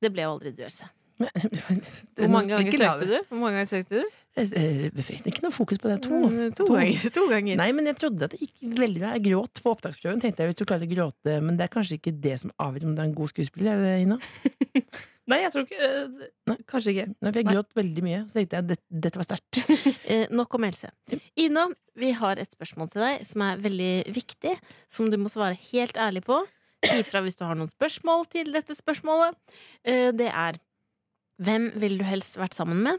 Speaker 2: Det ble jo aldri du, Else.
Speaker 3: Hvor
Speaker 2: Hvor mange ganger søkte du? Hvor mange ganger søkte du?
Speaker 3: Eh, Ikke noe fokus på det. To.
Speaker 2: Mm, to ganger. To ganger.
Speaker 3: Nei, men jeg trodde at det gikk veldig bra. Jeg gråt på opptaksprøven, tenkte jeg, hvis du klarer å gråte. Men det er kanskje ikke det som avgjør om du er en god skuespiller? Er det det, Ina?
Speaker 6: Nei, jeg tror ikke eh,
Speaker 3: Nei.
Speaker 6: Kanskje ikke.
Speaker 3: Nei, for Jeg gråt veldig mye, så tenkte jeg dette, dette var sterkt.
Speaker 2: Eh, nok om Else. Ina, vi har et spørsmål til deg som er veldig viktig, som du må svare helt ærlig på. Si ifra hvis du har noen spørsmål til dette spørsmålet. Eh, det er Hvem ville du helst vært sammen med?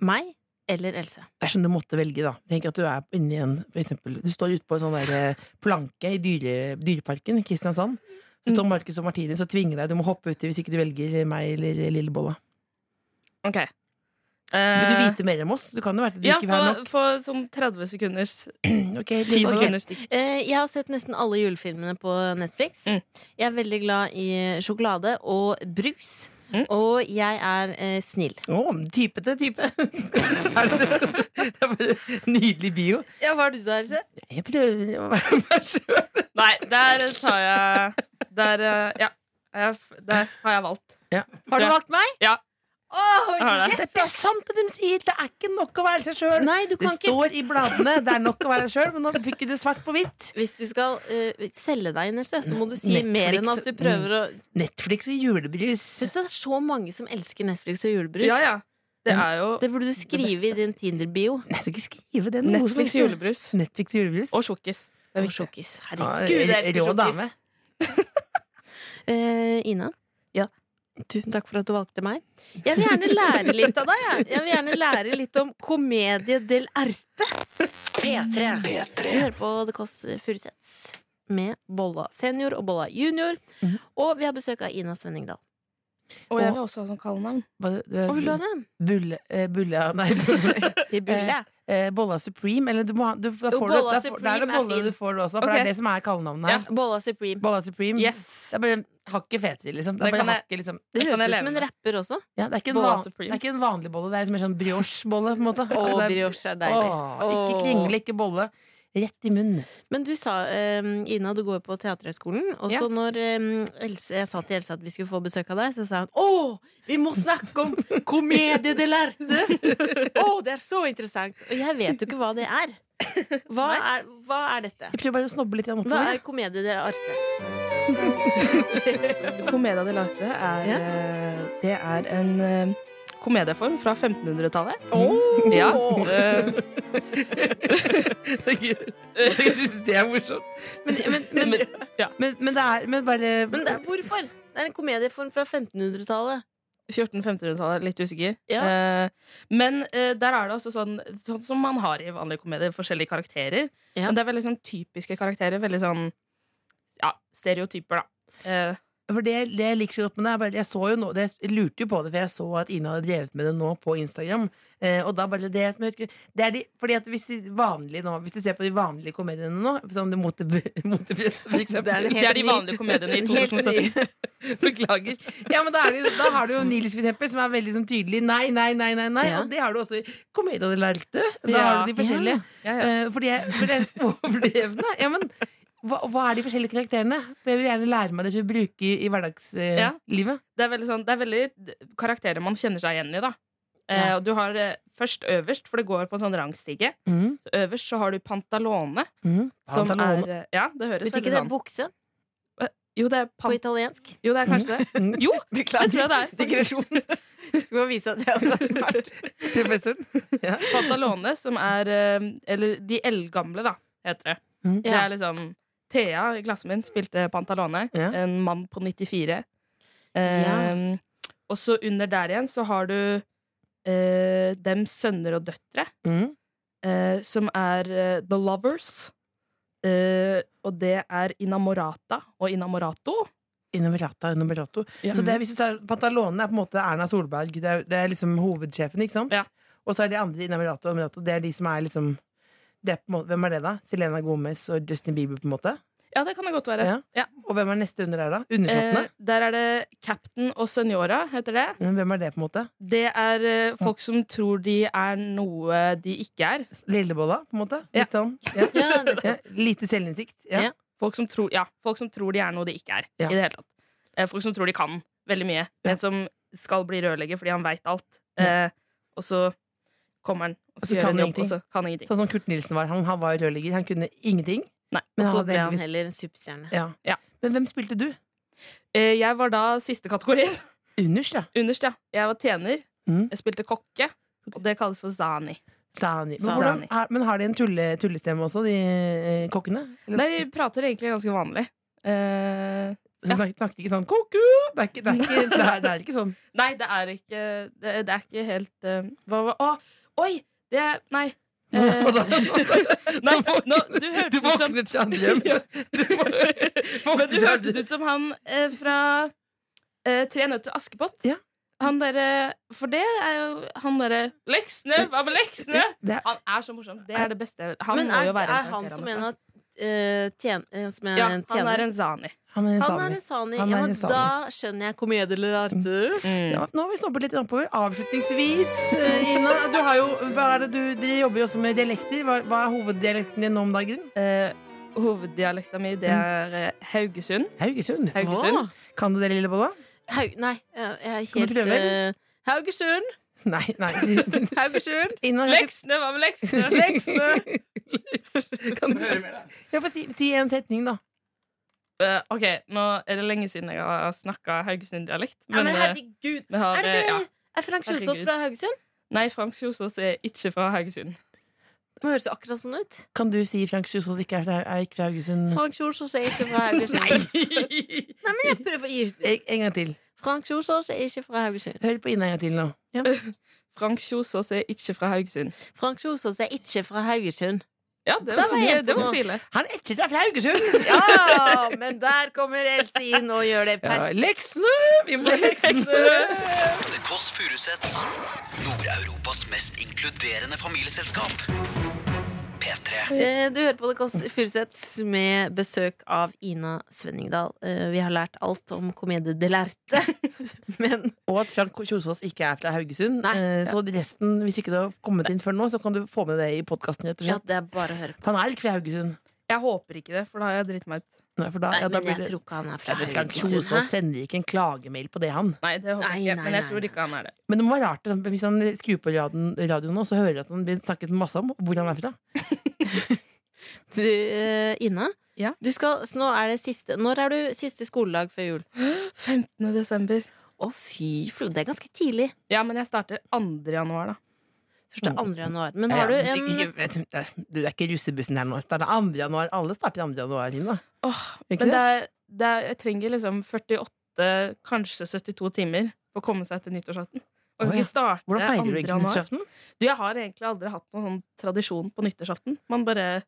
Speaker 2: Meg eller Else?
Speaker 3: Det er sånn du måtte velge, da. Tenk at du er inni en for eksempel, Du står ute på en sånn der eh, planke i dyre, Dyreparken i Kristiansand. Så står Marcus og Martinus og tvinger deg. Du må hoppe uti hvis ikke du velger meg eller Lillebolla.
Speaker 6: Ok. Eh,
Speaker 3: Vil du vite mer om oss? Du kan jo være til du
Speaker 6: ja,
Speaker 3: ikke vil ha
Speaker 6: få, få sånn 30 sekunders
Speaker 3: nok. Ok,
Speaker 6: 10
Speaker 3: Lillebolla.
Speaker 6: sekunders stikk.
Speaker 2: Eh, jeg har sett nesten alle julefilmene på Netflix.
Speaker 6: Mm.
Speaker 2: Jeg er veldig glad i sjokolade og brus.
Speaker 6: Mm.
Speaker 2: Og jeg er eh, snill.
Speaker 3: Å, type til type. *laughs* Er det det? Det er bare Nydelig bio.
Speaker 2: Ja, hva er du der, Else?
Speaker 3: Jeg prøver å være meg sjøl.
Speaker 6: Nei, der tar jeg Der, eh, ja. Jeg, der har jeg valgt.
Speaker 2: Har du
Speaker 6: Ja.
Speaker 2: valgt meg?
Speaker 6: Ja.
Speaker 2: Åh,
Speaker 6: Jeg har det.
Speaker 3: Dette er sant det de sier! Det er ikke nok å være seg sjøl.
Speaker 2: Nei, du
Speaker 3: Det
Speaker 2: kan ikke
Speaker 3: står i bladene. Det er nok å være seg sjøl, men nå fikk vi det svart på hvitt.
Speaker 2: Hvis du skal eh, selge deg inn, Else, så må du si
Speaker 3: Netflix.
Speaker 2: mer enn at du prøver å
Speaker 3: Netflix og julebrus.
Speaker 2: Synes du Det er så mange som elsker Netflix og julebrus.
Speaker 6: Ja, ja. Det er jo
Speaker 2: Det burde du skrive i din Tinder-bio.
Speaker 3: Nei, jeg skal ikke skrive det. noe som
Speaker 6: Netflix
Speaker 3: helst.
Speaker 6: julebrus.
Speaker 3: Netflix og julebrus.
Speaker 6: Og sjokkis. Det er
Speaker 2: Og
Speaker 6: viktig.
Speaker 2: sjokkis.
Speaker 3: Ja,
Speaker 2: Herregud, jeg elsker
Speaker 3: rå
Speaker 2: sjokkis.
Speaker 3: dame.
Speaker 2: Eh, Ina?
Speaker 6: Ja.
Speaker 2: Tusen takk for at du valgte meg. Jeg vil gjerne lære litt av deg. Jeg, jeg vil gjerne lære litt om komedie del arte.
Speaker 4: P3.
Speaker 2: Du hører på The Kåss Furuseths med Bolla senior og Bolla junior.
Speaker 3: Mhm.
Speaker 2: Og vi har besøk av Ina Svenningdal.
Speaker 6: Og jeg vil også ha sånn kallenavn.
Speaker 3: Hva-
Speaker 2: Hva vil du ha det?
Speaker 3: Bulle, eh, bulle *laughs* Nei, bulle.
Speaker 2: *laughs* I bulle.
Speaker 3: Eh, Bolla Supreme. Eller du må ha du, da
Speaker 2: Jo,
Speaker 3: får
Speaker 2: Bolla
Speaker 3: du, da, får- da er det
Speaker 2: Supreme er
Speaker 3: Bolla
Speaker 2: fin.
Speaker 3: du får du også, for det
Speaker 6: Ok.
Speaker 3: er det som er kallenavnet her.
Speaker 2: Bolla Supreme.
Speaker 3: Bolla Supreme.
Speaker 6: Yes.
Speaker 3: Det er bare hakket fetere, liksom. Det
Speaker 6: Det
Speaker 3: er, bare
Speaker 6: kan jeg-
Speaker 3: hakket, liksom.
Speaker 2: Det
Speaker 6: Det kan
Speaker 2: høres ut
Speaker 6: jeg leve
Speaker 2: som en
Speaker 6: med.
Speaker 2: rapper også.
Speaker 3: Ja, det, er ikke en
Speaker 6: Bolla
Speaker 3: van, det
Speaker 6: Supreme.
Speaker 3: er ikke en vanlig bolle, det er mer sånn brioche-bolle, på en måte.
Speaker 2: *laughs* Å,
Speaker 3: Altså, det er-
Speaker 2: brioche er deilig.
Speaker 3: Åh, ikke kringle, ikke bolle. Rett i munnen.
Speaker 2: Men du sa, eh, Ina, du går på Teaterhøgskolen. Og så
Speaker 6: Ja.
Speaker 2: når eh, Else, jeg sa til Else at vi skulle få besøk av deg, så sa hun Å, vi må snakke om komedie de lærte! *laughs* Å, det er så interessant! Og jeg vet jo ikke hva det er. Hva er, hva er dette?
Speaker 3: Jeg prøver bare å snobbe litt grann
Speaker 2: Hva
Speaker 3: oppover.
Speaker 2: er komedie de lærte?
Speaker 6: Comedia dell'arte er
Speaker 2: Ja.
Speaker 6: eh, Det er en eh, komedieform fra 1500-tallet. *laughs* Ja. eh, *laughs*
Speaker 3: Jeg syns det er morsomt. Men, men, men, men,
Speaker 6: Ja.
Speaker 3: det er Men bare
Speaker 2: Men det, er- hvorfor? Det er en komedieform fra 1500-tallet.
Speaker 6: 1400-1500-tallet, litt usikker.
Speaker 2: Ja.
Speaker 6: Eh, men eh, der er det også sånn, sånn som man har i vanlige komedier, forskjellige karakterer.
Speaker 2: Ja.
Speaker 6: Men det er veldig sånn typiske karakterer. Veldig sånn ja, stereotyper, da. Eh,
Speaker 2: *laughs*
Speaker 3: For det, det jeg liker så godt med det, er bare Jeg så jo nå det, Jeg lurte jo på det, for jeg så at Ina hadde drevet med det nå på Instagram. Eh, og da bare det som jeg husker Det er de Fordi at hvis, de vanlige nå, hvis du ser på de vanlige komediene nå, som det liksom, mote, *laughs* motebrød, for eksempel
Speaker 6: det er de vanlige
Speaker 2: *laughs*
Speaker 6: komediene i
Speaker 3: Helt ny.
Speaker 6: 2017.
Speaker 3: Beklager. Ja, men da, er det, jo- da har du jo Nils, for eksempel, som er veldig sånn tydelig nei, nei, nei, nei. nei
Speaker 2: Ja.
Speaker 3: Og det har du også i Comedia del Arte. Da
Speaker 6: Ja.
Speaker 3: har du de forskjellige.
Speaker 6: Ja, ja.
Speaker 3: Eh, fordi jeg for det er *laughs* overdrevne. Ja, men hva, hva er de forskjellige karakterene? For jeg vil gjerne lære meg det for å bruke i, i
Speaker 6: Ja.
Speaker 3: hverdagslivet.
Speaker 6: Det er veldig, sånn, det er veldig d- karakterer man kjenner seg igjen i, da. Eh, og du har eh, først øverst, for det går på en sånn rangstige.
Speaker 3: Mm,
Speaker 6: Så øverst så har du Pantalone,
Speaker 3: mm.
Speaker 6: som
Speaker 3: Pantalone.
Speaker 6: er eh, Ja, det høres
Speaker 2: Vet du
Speaker 6: veldig
Speaker 2: ikke det er
Speaker 6: sånn
Speaker 2: bukse
Speaker 6: jo, det er
Speaker 2: på
Speaker 6: pan
Speaker 2: italiensk?
Speaker 6: jo, det er kanskje det.
Speaker 2: *laughs*
Speaker 3: Mm.
Speaker 6: Jo, det tror jeg det er. *laughs*
Speaker 2: Skal bare vise at jeg også er smart.
Speaker 3: Professoren.
Speaker 6: Pantalone, som er eh, Eller De eldgamle, da, heter det.
Speaker 3: Mm.
Speaker 6: Det er liksom Thea i klassen min spilte Pantalone.
Speaker 3: Ja.
Speaker 6: En mann på 94.
Speaker 2: Ja.
Speaker 6: Eh, Og så under der igjen så har du eh, Dems sønner og døtre,
Speaker 3: Mm.
Speaker 6: eh, som er eh, The Lovers. Eh, og det er Inamorata og Inamorato.
Speaker 3: Innoverata, innovertato.
Speaker 6: Ja.
Speaker 3: Så det, er- hvis du tar Pantalone er på en måte Erna Solberg. Det er, det er liksom hovedsjefen, ikke sant?
Speaker 6: Ja.
Speaker 3: Og så er de andre innovertato og innovertato. Det er de som er liksom det er på en måte, Hvem er det, da? Selena Gomez og Justin Bieber, på en måte?
Speaker 6: Ja, det kan det godt være.
Speaker 3: Mm. Ja. Og hvem er neste under der, da? Undersåttene?
Speaker 6: Eh, der er det Captain og Senora, heter det.
Speaker 3: Mm, Hvem er det, på en måte?
Speaker 6: Det er eh, folk som tror de er noe de ikke er.
Speaker 3: Lillebolla, på en måte?
Speaker 6: Ja.
Speaker 3: Litt sånn. Ja.
Speaker 2: Ja, det-
Speaker 3: Ja. Lite selvinnsikt. Ja.
Speaker 2: Ja.
Speaker 6: Folk som tror, ja, folk som tror de er noe de ikke er.
Speaker 3: Ja.
Speaker 6: I det hele tatt. Eh, folk som tror de kan veldig mye, men som skal bli rørlegger fordi han veit alt. Eh, og så kommer han og
Speaker 3: Og
Speaker 6: så,
Speaker 3: så
Speaker 6: gjør
Speaker 3: kan
Speaker 6: han
Speaker 3: han
Speaker 6: jobb, og så kan han ingenting.
Speaker 3: Sånn som Kurt Nilsen var. Han, han var rørlegger. Han kunne ingenting.
Speaker 6: Nei.
Speaker 3: Men
Speaker 2: Og så
Speaker 3: hadde
Speaker 2: ble han
Speaker 3: heldigvis-
Speaker 2: heller en superstjerne.
Speaker 3: ja.
Speaker 6: Ja.
Speaker 3: Men hvem spilte du?
Speaker 6: Eh, jeg var da siste kategorien. *laughs*
Speaker 3: Underst, ja.
Speaker 6: Underst, ja. Jeg var tjener.
Speaker 3: Mm.
Speaker 6: Jeg spilte kokke. Og det kalles for zani.
Speaker 3: Sani. Men,
Speaker 6: Sani.
Speaker 3: hvordan, har, men har de en tulle, tullestemme også, de eh, kokkene? Eller,
Speaker 6: Nei, de prater egentlig ganske vanlig. Eh,
Speaker 3: så de snakker, snakker ikke sånn koko! Det er ikke, det er ikke, det er, det er ikke sånn.
Speaker 6: nei, det er ikke Det, det er ikke helt eh, Hva var Å! Oi! Det er Nei. *laughs*
Speaker 3: *laughs*
Speaker 6: Eh,
Speaker 3: Hva da?
Speaker 6: *laughs* nei, nå, du
Speaker 3: Du
Speaker 6: hørtes ut som
Speaker 3: våknet fra en drøm.
Speaker 6: *laughs* Ja.
Speaker 3: *laughs* Du våknet
Speaker 6: Men
Speaker 3: fra
Speaker 6: du
Speaker 3: en
Speaker 6: hørtes ut som han eh, fra eh, Tre nøtter til Askepott.
Speaker 3: Ja.
Speaker 6: Han derre For det er jo han derre Leksene! Hva med leksene?
Speaker 3: Det er,
Speaker 6: Han er så morsom. Det er det beste jeg vet. Han
Speaker 2: Men
Speaker 6: må
Speaker 2: er,
Speaker 6: jo være altså.
Speaker 2: er han som en av eh, tjen, eh, som er
Speaker 6: Ja,
Speaker 2: en
Speaker 6: han er
Speaker 2: tjener?
Speaker 6: en zani.
Speaker 3: han er en
Speaker 2: Han er
Speaker 3: sani.
Speaker 2: en sani.
Speaker 3: Han er
Speaker 2: Ja,
Speaker 3: en
Speaker 2: men
Speaker 3: sani.
Speaker 2: da skjønner jeg komedie eller Arthur.
Speaker 3: Ja, nå har vi snobbet litt oppover. Avslutningsvis, eh, Ina. Du har jo, hva er det du, dere jobber jo også med dialekter. Hva, hva er hoveddialekten din nå om dagen?
Speaker 6: Eh, hoveddialekta mi
Speaker 3: Mm.
Speaker 6: det er eh, Haugesund.
Speaker 3: Haugesund.
Speaker 6: Haugesund.
Speaker 2: Åh.
Speaker 3: Kan du det, Lillebolla?
Speaker 2: Haug... Nei, jeg jeg er
Speaker 3: Kan du
Speaker 2: helt
Speaker 3: prøve, eller?
Speaker 2: eh, Haugesund!
Speaker 3: Nei,
Speaker 6: *laughs*
Speaker 3: nei. *laughs*
Speaker 6: Haugesund.
Speaker 3: Ina,
Speaker 6: Leksene! Hva med leksene?
Speaker 3: Leksene! Kan du høre mer, da? Ja, få si, si en setning, da.
Speaker 6: Eh, ok, nå er det lenge siden jeg har snakka Haugesund-dialekt.
Speaker 2: Ja, men
Speaker 6: eh,
Speaker 2: herregud!
Speaker 6: vi har,
Speaker 2: Er det
Speaker 6: eh,
Speaker 2: det?
Speaker 6: ja.
Speaker 2: Er Frank Kjosås
Speaker 6: Herregud.
Speaker 2: fra Haugesund?
Speaker 6: Nei, Frank Kjosås er ikke fra
Speaker 2: *laughs*
Speaker 6: Haugesund.
Speaker 2: Det høres jo akkurat sånn ut.
Speaker 3: Kan du si Frank Kjosås ikke er, er ikke fra Haugesund?
Speaker 2: Frank Kjosås er ikke fra Haugesund. Nei, men jeg prøver å gi ut
Speaker 3: En, en gang til.
Speaker 2: Frank Kjosås er ikke fra Haugesund.
Speaker 3: Hør på Ina en gang til nå.
Speaker 6: Frank Kjosås er ikke fra Haugesund.
Speaker 2: Frank Kjosås er ikke fra Haugesund.
Speaker 6: Ja, det
Speaker 2: Da
Speaker 6: var,
Speaker 2: var jeg
Speaker 6: det var
Speaker 2: på.
Speaker 6: stilig.
Speaker 3: Han er ikke fra Haugesund!
Speaker 2: *laughs* Ja, men der kommer Else inn og gjør det
Speaker 3: Ja, leksene! Vi
Speaker 6: *laughs*
Speaker 3: må leksene!
Speaker 1: The Kåss Furuseths. Nord-Europas mest inkluderende familieselskap. P3.
Speaker 2: Eh, Du hører på Det Kåss Furuseths med besøk av Ina Svenningdal. Eh, Vi har lært alt om komedie de lærte. *laughs* Men
Speaker 3: Og at Frank Kjosås ikke er fra Haugesund.
Speaker 2: Nei.
Speaker 3: Eh, Så resten, hvis ikke du har kommet inn før nå, så kan du få med det i podkasten.
Speaker 2: ja, det er bare å høre på.
Speaker 3: Han er ikke fra Haugesund.
Speaker 6: Jeg håper ikke det, for da har jeg dritt meg ut.
Speaker 3: Nei, for da,
Speaker 2: Nei,
Speaker 3: ja, da
Speaker 2: men
Speaker 3: blir
Speaker 2: jeg
Speaker 3: det-
Speaker 2: tror ikke han er
Speaker 3: Ja,
Speaker 2: fra
Speaker 3: men Frank
Speaker 2: Haugesund.
Speaker 3: Kjosås
Speaker 2: hæ?
Speaker 3: sender ikke en klagemail på det, han.
Speaker 6: Nei, det håper
Speaker 2: Nei,
Speaker 6: jeg ikke.
Speaker 2: nei,
Speaker 6: Men jeg
Speaker 2: nei,
Speaker 6: tror
Speaker 2: nei.
Speaker 6: ikke han er det.
Speaker 3: Men det må være rart det, hvis han skrur på radioen, radioen nå, så hører jeg at han blir snakket masse om hvor han er fra.
Speaker 2: Du, eh, Ina,
Speaker 6: Ja.
Speaker 2: du skal, så nå er det siste, når er du siste skoledag før jul?
Speaker 6: 15. desember.
Speaker 2: Å, fy flate, det er ganske tidlig.
Speaker 6: Ja, men jeg starter 2. januar, da.
Speaker 2: Første 2. januar. Mm. Men har du
Speaker 3: Ja,
Speaker 2: en
Speaker 3: ikke- vet du, Det er ikke russebussen her nå. Det er det 2. januar. Alle starter 2. januar. Ina.
Speaker 6: Åh,
Speaker 3: Ikke det?
Speaker 6: men det er, det er, jeg trenger liksom 48, kanskje 72 timer for å komme seg til nyttårsaften. Og jeg
Speaker 3: Å,
Speaker 6: kan
Speaker 3: ja.
Speaker 6: ikke starte
Speaker 3: Hvordan
Speaker 6: 2.
Speaker 3: feirer du egentlig
Speaker 6: januar.
Speaker 3: nyttårsaften?
Speaker 6: Du, jeg har egentlig aldri hatt noen sånn tradisjon på nyttårsaften. Man bare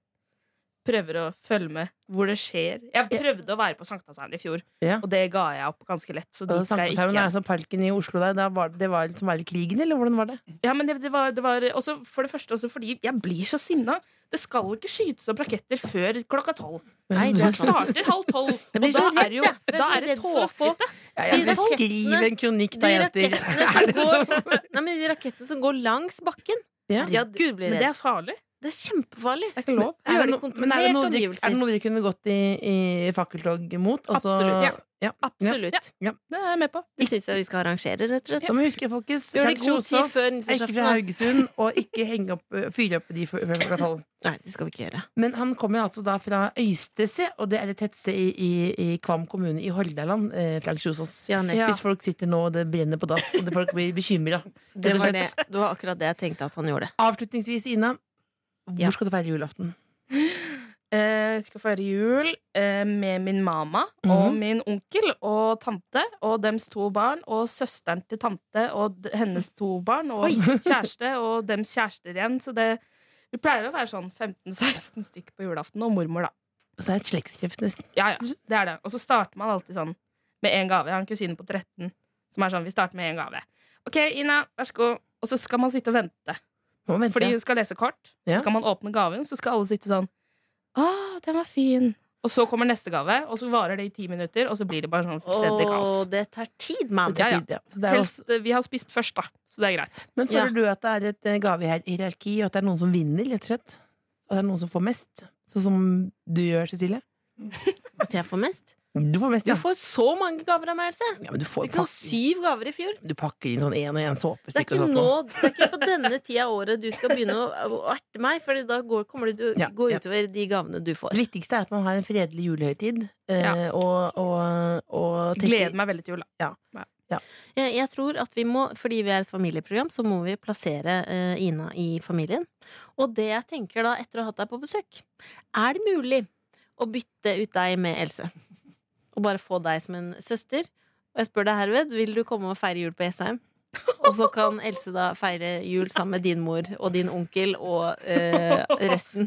Speaker 6: prøver å følge med hvor det skjer. Jeg prøvde å være på Sankthanshaugen i fjor,
Speaker 3: Ja.
Speaker 6: og det ga jeg opp ganske lett. Så dit skal jeg ikke
Speaker 3: Sankthanshaugen er altså parken i Oslo der. Da var, det var liksom bare krigen, eller hvordan var det?
Speaker 6: Ja, men det, det var, det var også, For det første også fordi jeg blir så sinna. Det skal ikke skytes opp raketter før klokka tolv.
Speaker 2: Nei, det er
Speaker 6: Man
Speaker 2: sant.
Speaker 6: starter halv tolv,
Speaker 2: blir
Speaker 6: og da
Speaker 2: så
Speaker 6: er det jo
Speaker 2: redd, jeg. Jeg er
Speaker 6: da
Speaker 2: så
Speaker 6: er det
Speaker 2: redd for å få-
Speaker 6: tåkete.
Speaker 3: Ja,
Speaker 2: De
Speaker 3: men
Speaker 2: rakettene-
Speaker 3: skriv en kronikk, da,
Speaker 2: de
Speaker 3: jenter.
Speaker 2: *laughs* rakettene
Speaker 3: Er
Speaker 2: som
Speaker 3: det
Speaker 2: går
Speaker 3: sånn?
Speaker 2: Nei, men de rakettene som går langs bakken.
Speaker 3: Ja.
Speaker 2: Herregud, blir
Speaker 6: Men det
Speaker 2: redd.
Speaker 6: er farlig.
Speaker 2: Det er kjempefarlig.
Speaker 6: Det er ikke lov.
Speaker 2: Gjør
Speaker 3: Er det, no,
Speaker 2: det
Speaker 3: men er det
Speaker 2: kontrollert
Speaker 3: noe dere,
Speaker 2: omgivelser.
Speaker 3: er det noe dere kunne gått i, i fakkeltog mot?
Speaker 2: Absolutt. Ja.
Speaker 3: Ja.
Speaker 2: Absolutt.
Speaker 6: Det er jeg med på.
Speaker 2: Det syns jeg vi skal arrangere, rett og slett.
Speaker 3: Da må vi huske, folkens,
Speaker 2: Gjør det
Speaker 3: Frank
Speaker 2: i god tid
Speaker 3: Kjosås
Speaker 2: før
Speaker 3: er ikke fra
Speaker 2: nyttårsaften, da.
Speaker 3: Haugesund, og ikke henge opp, fyre opp de før før klokka tolv.
Speaker 2: Nei, det skal vi ikke gjøre.
Speaker 3: Men han kommer altså da fra Øystese, og det er et tettsted i, i, i Kvam kommune i Hordaland. Eh, Frank Kjosås.
Speaker 2: Ja, nettopp.
Speaker 3: Hvis folk sitter nå og det brenner på dass, og det folk blir *laughs* bekymra.
Speaker 2: Det var, det. det var akkurat det jeg tenkte at han gjorde.
Speaker 3: Avslutningsvis, Ina. Hvor
Speaker 2: Ja.
Speaker 3: skal du feire julaften?
Speaker 6: Eh, Jeg skal feire jul eh, med min mamma og
Speaker 3: Mhm.
Speaker 6: min onkel og tante og dems to barn og søsteren til tante og d- hennes to barn og *laughs* kjæreste og dems kjærester igjen. Så det, vi pleier å være sånn 15-16 stykk på julaften, og mormor, da.
Speaker 3: Så det er et slektstreff, nesten.
Speaker 6: Ja, ja, det er det. Og så starter man alltid sånn med én gave. Jeg har en kusine på 13 som er sånn Vi starter med én gave. OK, Ina, vær så god. Og så skal man sitte og vente.
Speaker 3: Må vente.
Speaker 6: Fordi hun skal lese kort.
Speaker 3: Ja.
Speaker 6: Så skal man åpne gaven, så skal alle sitte sånn Å, den var fin. Og så kommer neste gave, og så varer det i ti minutter, og så blir det bare sånn fullstendig kaos.
Speaker 2: Åh, det tar tid, mann.
Speaker 3: Det er
Speaker 6: Ja, ja.
Speaker 3: tid, ja. Så det er
Speaker 6: Helst,
Speaker 3: også,
Speaker 6: eh, vi har spist først, da. Så det er greit.
Speaker 3: men føler
Speaker 2: Ja.
Speaker 3: du at det er et eh, gavehierarki, og at det er noen som vinner, rett og slett? At det er noen som får mest? Sånn som du gjør, Cecilie?
Speaker 2: At jeg får mest.
Speaker 3: Du får mest,
Speaker 2: Du
Speaker 3: ja.
Speaker 2: får så mange gaver av meg, Else!
Speaker 3: ja men du,
Speaker 2: Vi
Speaker 3: får
Speaker 2: kan ha
Speaker 3: pakke,
Speaker 2: syv gaver i fjor.
Speaker 3: du pakker inn sånn én og én
Speaker 2: Det er
Speaker 3: såpestikk
Speaker 2: ikke
Speaker 3: og sånt.
Speaker 2: nå,
Speaker 3: nå.
Speaker 2: det er ikke på denne tida av året du skal begynne å å erte meg, for da går, kommer det til å
Speaker 3: Ja,
Speaker 2: gå
Speaker 3: ja.
Speaker 2: utover de gavene du får.
Speaker 3: Det viktigste er at man har en fredelig julehøytid. eh,
Speaker 6: Ja.
Speaker 3: Og, og, og tenker-
Speaker 6: Gleder meg veldig til jul, da.
Speaker 2: Jeg, jeg tror at vi må, fordi vi er et familieprogram, så må vi plassere eh, Ina i familien. Og det jeg tenker da, etter å ha hatt deg på besøk, er det mulig å bytte ut deg med Else? Og bare få deg som en søster? Og jeg spør deg herved, vil du komme og feire jul på Jessheim? Og så kan Else da feire jul sammen med din mor og din onkel og eh, resten.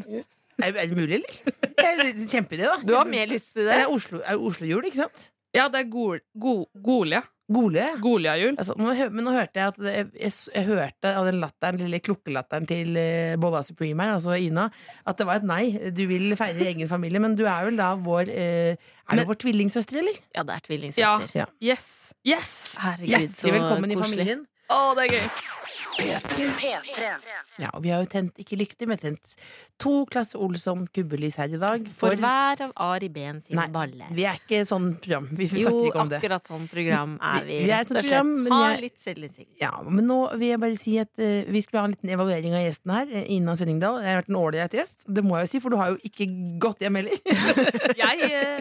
Speaker 3: Er, er det mulig, eller? Det er en Kjempeidé, da.
Speaker 2: Du har mer lyst til
Speaker 3: Det
Speaker 2: det?
Speaker 3: er Oslo, er Oslo-jul, ikke sant?
Speaker 6: Ja, det er gol, go, Golia.
Speaker 3: Gole, ja.
Speaker 6: Goliajul.
Speaker 3: Altså, nå, hø- men nå hørte jeg at det, jeg, s- jeg hørte av den latteren, lille klukkelatteren til eh, Bolla Supreme her, altså Ina, at det var et nei. Du vil feire i egen familie, men du er vel da vår eh, Er
Speaker 6: Men-
Speaker 3: du vår tvillingsøster, eller?
Speaker 2: Ja, det er
Speaker 6: Ja.
Speaker 2: tvillingsøster.
Speaker 6: Yes! Yes!
Speaker 2: Herregud, så
Speaker 3: Hjertelig velkommen i
Speaker 2: koselig.
Speaker 3: familien.
Speaker 6: Å, det er gøy.
Speaker 4: P3.
Speaker 3: Ja, og vi har jo tent, ikke lykter, men tent to klasse Olsson kubbelys her i dag.
Speaker 2: For hver av Ari Ben sine
Speaker 3: Nei,
Speaker 2: baller.
Speaker 3: Vi er ikke sånn program. Vi
Speaker 2: Jo,
Speaker 3: snakker ikke om det.
Speaker 2: akkurat sånn program er vi.
Speaker 3: Vi- vi er et sånt
Speaker 2: rett og slett.
Speaker 3: program, men
Speaker 2: ha
Speaker 3: jeg-
Speaker 2: litt selvinnsikt.
Speaker 3: Ja, men nå vil jeg bare si at eh, Vi skulle ha en liten evaluering av gjesten her. eh, Ina Sønningdal. Jeg har vært en ålreit gjest. Det må jeg jo si, for du har jo ikke gått hjem
Speaker 6: *laughs*
Speaker 3: heller.
Speaker 6: *laughs* Jeg eh,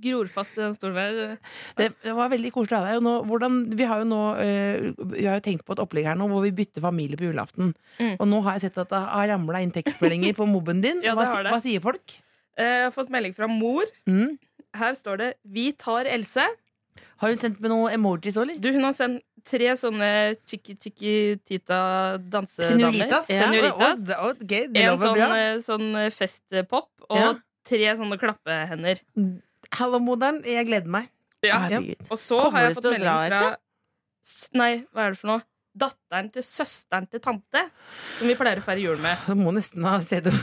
Speaker 6: gror fast i den stolen her.
Speaker 3: Det det var veldig koselig å ha deg. Og nå, hvordan, vi har jo nå eh, Vi har jo tenkt på et opplegg her nå hvor vi bytter familie på julaften.
Speaker 6: Mm.
Speaker 3: Og nå har jeg sett at det har ramla inn tekstmeldinger på mobben din.
Speaker 6: *laughs* Ja, det
Speaker 3: hva,
Speaker 6: har det.
Speaker 3: hva sier folk?
Speaker 6: Eh, Jeg har fått melding fra mor.
Speaker 3: Mm.
Speaker 6: Her står det 'Vi tar Else'.
Speaker 3: Har hun sendt med noen emojis òg, eller?
Speaker 6: Du, hun har sendt tre sånne chicky-chicky-tita-dansedamer.
Speaker 3: Senoritas?
Speaker 2: Ja.
Speaker 6: eh, Senoritas.
Speaker 3: Å, å, ok, det
Speaker 6: En
Speaker 3: lover
Speaker 6: sånn,
Speaker 3: bra.
Speaker 6: eh, sånn eh, festpop og
Speaker 3: Ja.
Speaker 6: tre sånne klappehender.
Speaker 3: Hallo, moderen. Jeg gleder meg. Herregud.
Speaker 6: Og så
Speaker 2: Kommer
Speaker 6: har jeg
Speaker 2: du til
Speaker 6: fått
Speaker 2: å dra,
Speaker 6: melding fra S- Nei, hva er det for noe? Datteren til søsteren til tante, som vi pleier å feire jul med.
Speaker 3: Du må nesten ha *laughs* sett det.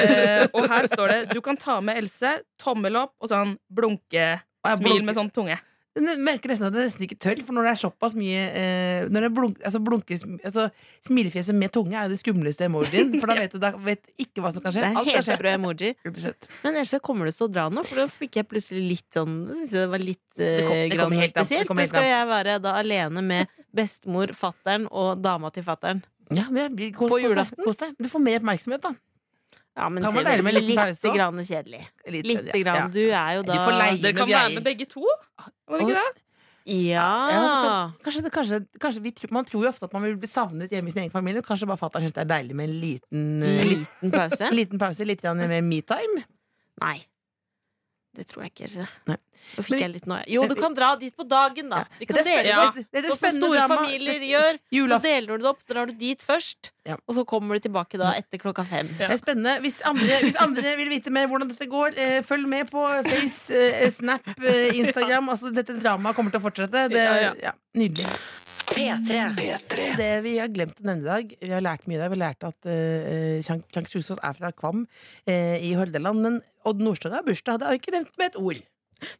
Speaker 6: Eh, og her står det 'Du kan ta med Else'. Tommel opp og sånn
Speaker 3: ja,
Speaker 6: blunke-smil
Speaker 3: blunke.
Speaker 6: med sånn tunge.
Speaker 3: Jeg merker nesten at jeg nesten ikke tør, for når det er såpass mye eh, Når det blunk, altså blunker altså, Smilefjeset med tunge er jo det skumleste emojien, for da vet du da vet du ikke hva som kan
Speaker 2: Det
Speaker 3: skje.
Speaker 2: er
Speaker 3: Alt kan skje,
Speaker 2: helsprø emoji.
Speaker 3: rett og slett.
Speaker 2: Men ellers så kommer du til å dra nå, for da fikk jeg plutselig litt sånn synes jeg Det var litt eh,
Speaker 3: Det kom- det kommer
Speaker 2: grann
Speaker 3: helt an- det
Speaker 2: spesielt.
Speaker 3: kommer
Speaker 2: Men
Speaker 3: helt
Speaker 2: skal jeg være da alene med bestemor, fattern og dama til fattern?
Speaker 3: Ja, men jeg blir- kos-
Speaker 2: På
Speaker 3: kos deg,
Speaker 2: julaften?
Speaker 3: Kos deg. Du får mer oppmerksomhet, da.
Speaker 2: Ja, men
Speaker 3: Kan man
Speaker 2: det er
Speaker 3: være med en
Speaker 2: vel
Speaker 3: liten pause
Speaker 2: litt
Speaker 3: også?
Speaker 2: grann kjedelig.
Speaker 3: Litt,
Speaker 2: Litt
Speaker 3: ja,
Speaker 2: grann. Du er jo
Speaker 3: Du
Speaker 2: da
Speaker 3: får leie
Speaker 6: Dere kan
Speaker 3: med
Speaker 6: være
Speaker 3: greier.
Speaker 6: med begge to. Var det ikke det?
Speaker 3: Ja, men så
Speaker 2: Ja!
Speaker 3: kan- Kanskje, det- kanskje, kanskje vi, tr- man tror jo ofte at man vil bli savnet hjemme i sin egen familie. Kanskje bare fatter'n syns det er deilig med en liten, eh, litt-
Speaker 2: Liten pause?
Speaker 3: liten pause, litt grann med me-time.
Speaker 2: Nei. Det tror jeg ikke. Else.
Speaker 3: Nei.
Speaker 2: Nå fikk
Speaker 3: Men-
Speaker 2: jeg litt noe. Jo, du kan dra dit på dagen, da. Vi kan
Speaker 3: Det er spen-
Speaker 2: dele det
Speaker 6: Ja.
Speaker 2: opp.
Speaker 3: det- det er det
Speaker 2: Sånn som
Speaker 3: spennende
Speaker 2: store
Speaker 3: drama.
Speaker 2: familier
Speaker 3: *laughs*
Speaker 2: gjør. Så
Speaker 3: Julaften.
Speaker 2: deler du det opp, så drar du dit først,
Speaker 3: Ja.
Speaker 2: og så kommer du tilbake da etter klokka fem.
Speaker 6: Ja.
Speaker 3: Det er spennende. Hvis andre, hvis andre vil vite mer hvordan dette går, eh, følg med på Face, eh, Snap, eh,
Speaker 2: *laughs*
Speaker 3: Instagram. Altså, dette dramaet kommer til å fortsette. Det,
Speaker 6: Ja, ja.
Speaker 3: ja, nydelig.
Speaker 4: P3.
Speaker 3: Det vi har glemt å nevne i dag Vi har lært mye i dag. Vi har lært at eh, Kjank Kjank Susås er fra Kvam eh, i Hordaland. Men Odd Nordstoga har bursdag. Det har vi ikke nevnt med et ord.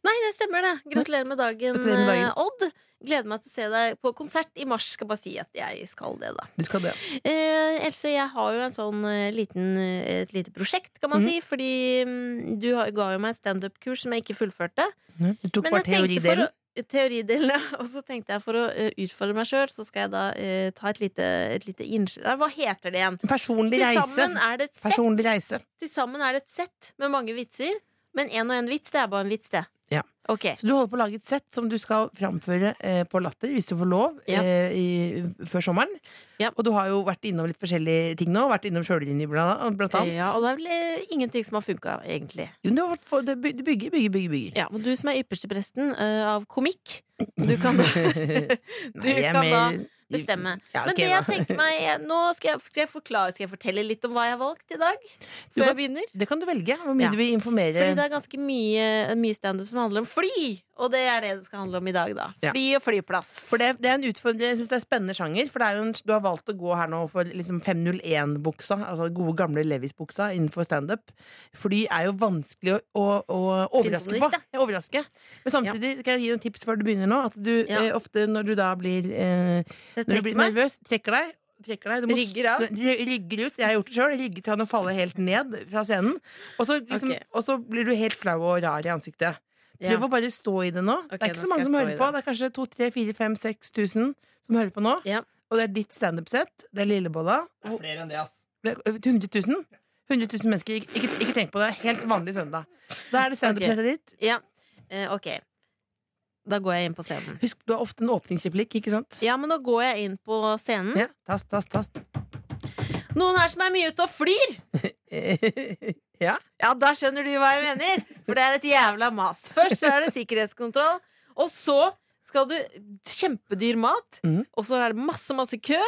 Speaker 2: Nei, det stemmer det. Gratulerer med dagen,
Speaker 3: Gratulerer med dagen.
Speaker 2: eh, Odd. Gleder meg til å se deg på konsert i mars. Skal bare si at jeg skal det, da.
Speaker 3: Du skal det.
Speaker 2: Eh, Else, jeg har jo en sånn eh, liten, eh, et lite prosjekt, kan man
Speaker 3: Mhm.
Speaker 2: si. Fordi mm, du har- ga jo meg et standup-kurs som jeg ikke fullførte.
Speaker 3: Du Mm. tok
Speaker 2: Men
Speaker 3: bare
Speaker 2: jeg tenkte for
Speaker 3: teoridelen.
Speaker 2: å- eh, Teoridelen, ja. *laughs* Og så tenkte jeg for å eh, utfordre meg sjøl, så skal jeg da eh, ta et lite, et lite innsj- Nei, Hva heter det igjen?
Speaker 3: Personlig
Speaker 2: Til
Speaker 3: reise.
Speaker 2: sammen er det et sett.
Speaker 3: Personlig reise.
Speaker 2: Til sammen er det et sett med mange vitser. Men én og én vits, det er bare en vits, det.
Speaker 3: Ja.
Speaker 2: Ok.
Speaker 3: Så du holder på å lage et sett som du skal framføre eh, på Latter, hvis du får lov,
Speaker 2: Ja.
Speaker 3: eh, i, før sommeren.
Speaker 2: Ja.
Speaker 3: Og du har jo vært innom litt forskjellige ting nå. Vært innom sjøllinje, blant, blant annet.
Speaker 2: Ja, og det er vel eh, ingenting som har funka, egentlig.
Speaker 3: Jo, Du har vært for- det by- du bygger, bygger, bygger. *laughs* bygger.
Speaker 2: Ja, men du som er ypperstepresten eh, av komikk, du
Speaker 3: *laughs*
Speaker 2: kan
Speaker 3: Nei, jeg er
Speaker 2: kan
Speaker 3: mer-
Speaker 2: bestemme.
Speaker 3: Ja,
Speaker 2: Men
Speaker 3: ok,
Speaker 2: det jeg
Speaker 3: da.
Speaker 2: tenker meg er- Nå skal jeg, skal jeg forklare Skal jeg fortelle litt om hva jeg har valgt i dag?
Speaker 3: Du
Speaker 2: Før
Speaker 3: kan-
Speaker 2: jeg begynner?
Speaker 3: Det kan du velge, hvor mye
Speaker 2: Ja.
Speaker 3: du vil informere.
Speaker 2: Fordi det er ganske mye, mye standup som handler om fly! Og det er det det skal handle om i dag, da.
Speaker 3: Ja.
Speaker 2: Fly og flyplass.
Speaker 3: For det, det er en utfordring, jeg synes det er spennende sjanger. For det er jo en, du har valgt å gå her nå for liksom 501-buksa, altså gode gamle Levis-buksa innenfor standup. Fly er jo vanskelig å, å, å overraske
Speaker 2: Finne på
Speaker 3: på.
Speaker 2: nytt, ja.
Speaker 3: Ja, Overraske. Men samtidig kan jeg gi deg en tips før du begynner nå. At du
Speaker 2: Ja.
Speaker 3: eh, ofte når du da blir, eh, når
Speaker 2: Det
Speaker 3: du
Speaker 2: trekker
Speaker 3: blir
Speaker 2: meg.
Speaker 3: nervøs, trekker deg. Trekker deg. Du må s-
Speaker 2: Rygger av.
Speaker 3: du- Rygger ut. Jeg har gjort det sjøl. Rygger til han og faller helt ned fra scenen. Og så, liksom,
Speaker 2: Ok.
Speaker 3: og så blir du helt flau og rar i ansiktet.
Speaker 2: Ja.
Speaker 3: Prøv å bare stå i det nå.
Speaker 2: Ok,
Speaker 3: det er ikke så
Speaker 2: nå skal
Speaker 3: mange
Speaker 2: jeg
Speaker 3: som
Speaker 2: stå
Speaker 3: hører
Speaker 2: i
Speaker 3: på. Det
Speaker 2: det.
Speaker 3: er kanskje 2, 3, 4, 5, 6 tusen som hører på nå.
Speaker 2: Ja.
Speaker 3: Og det er ditt standup-sett. Det er Lillebolla.
Speaker 7: Det er flere enn det, ass.
Speaker 3: Det er 100 000. 100 000 mennesker. Ikke, ikke, ikke tenk på det. Det er Helt vanlig søndag. Da er det standup-settet ditt.
Speaker 2: Ja, eh, ok Da går jeg inn på scenen.
Speaker 3: Husk, du har ofte en åpningsreplikk, ikke sant?
Speaker 2: Ja, men da går jeg inn på scenen.
Speaker 3: Ja, tast, tast, tast. *laughs*
Speaker 2: Noen her som er mye ute og flyr!
Speaker 3: ja.
Speaker 2: Ja, da skjønner du hva jeg mener! For det er et jævla mas. Først så er det sikkerhetskontroll, og så skal du kjempedyr mat,
Speaker 3: Mhm.
Speaker 2: og så er det masse, masse kø,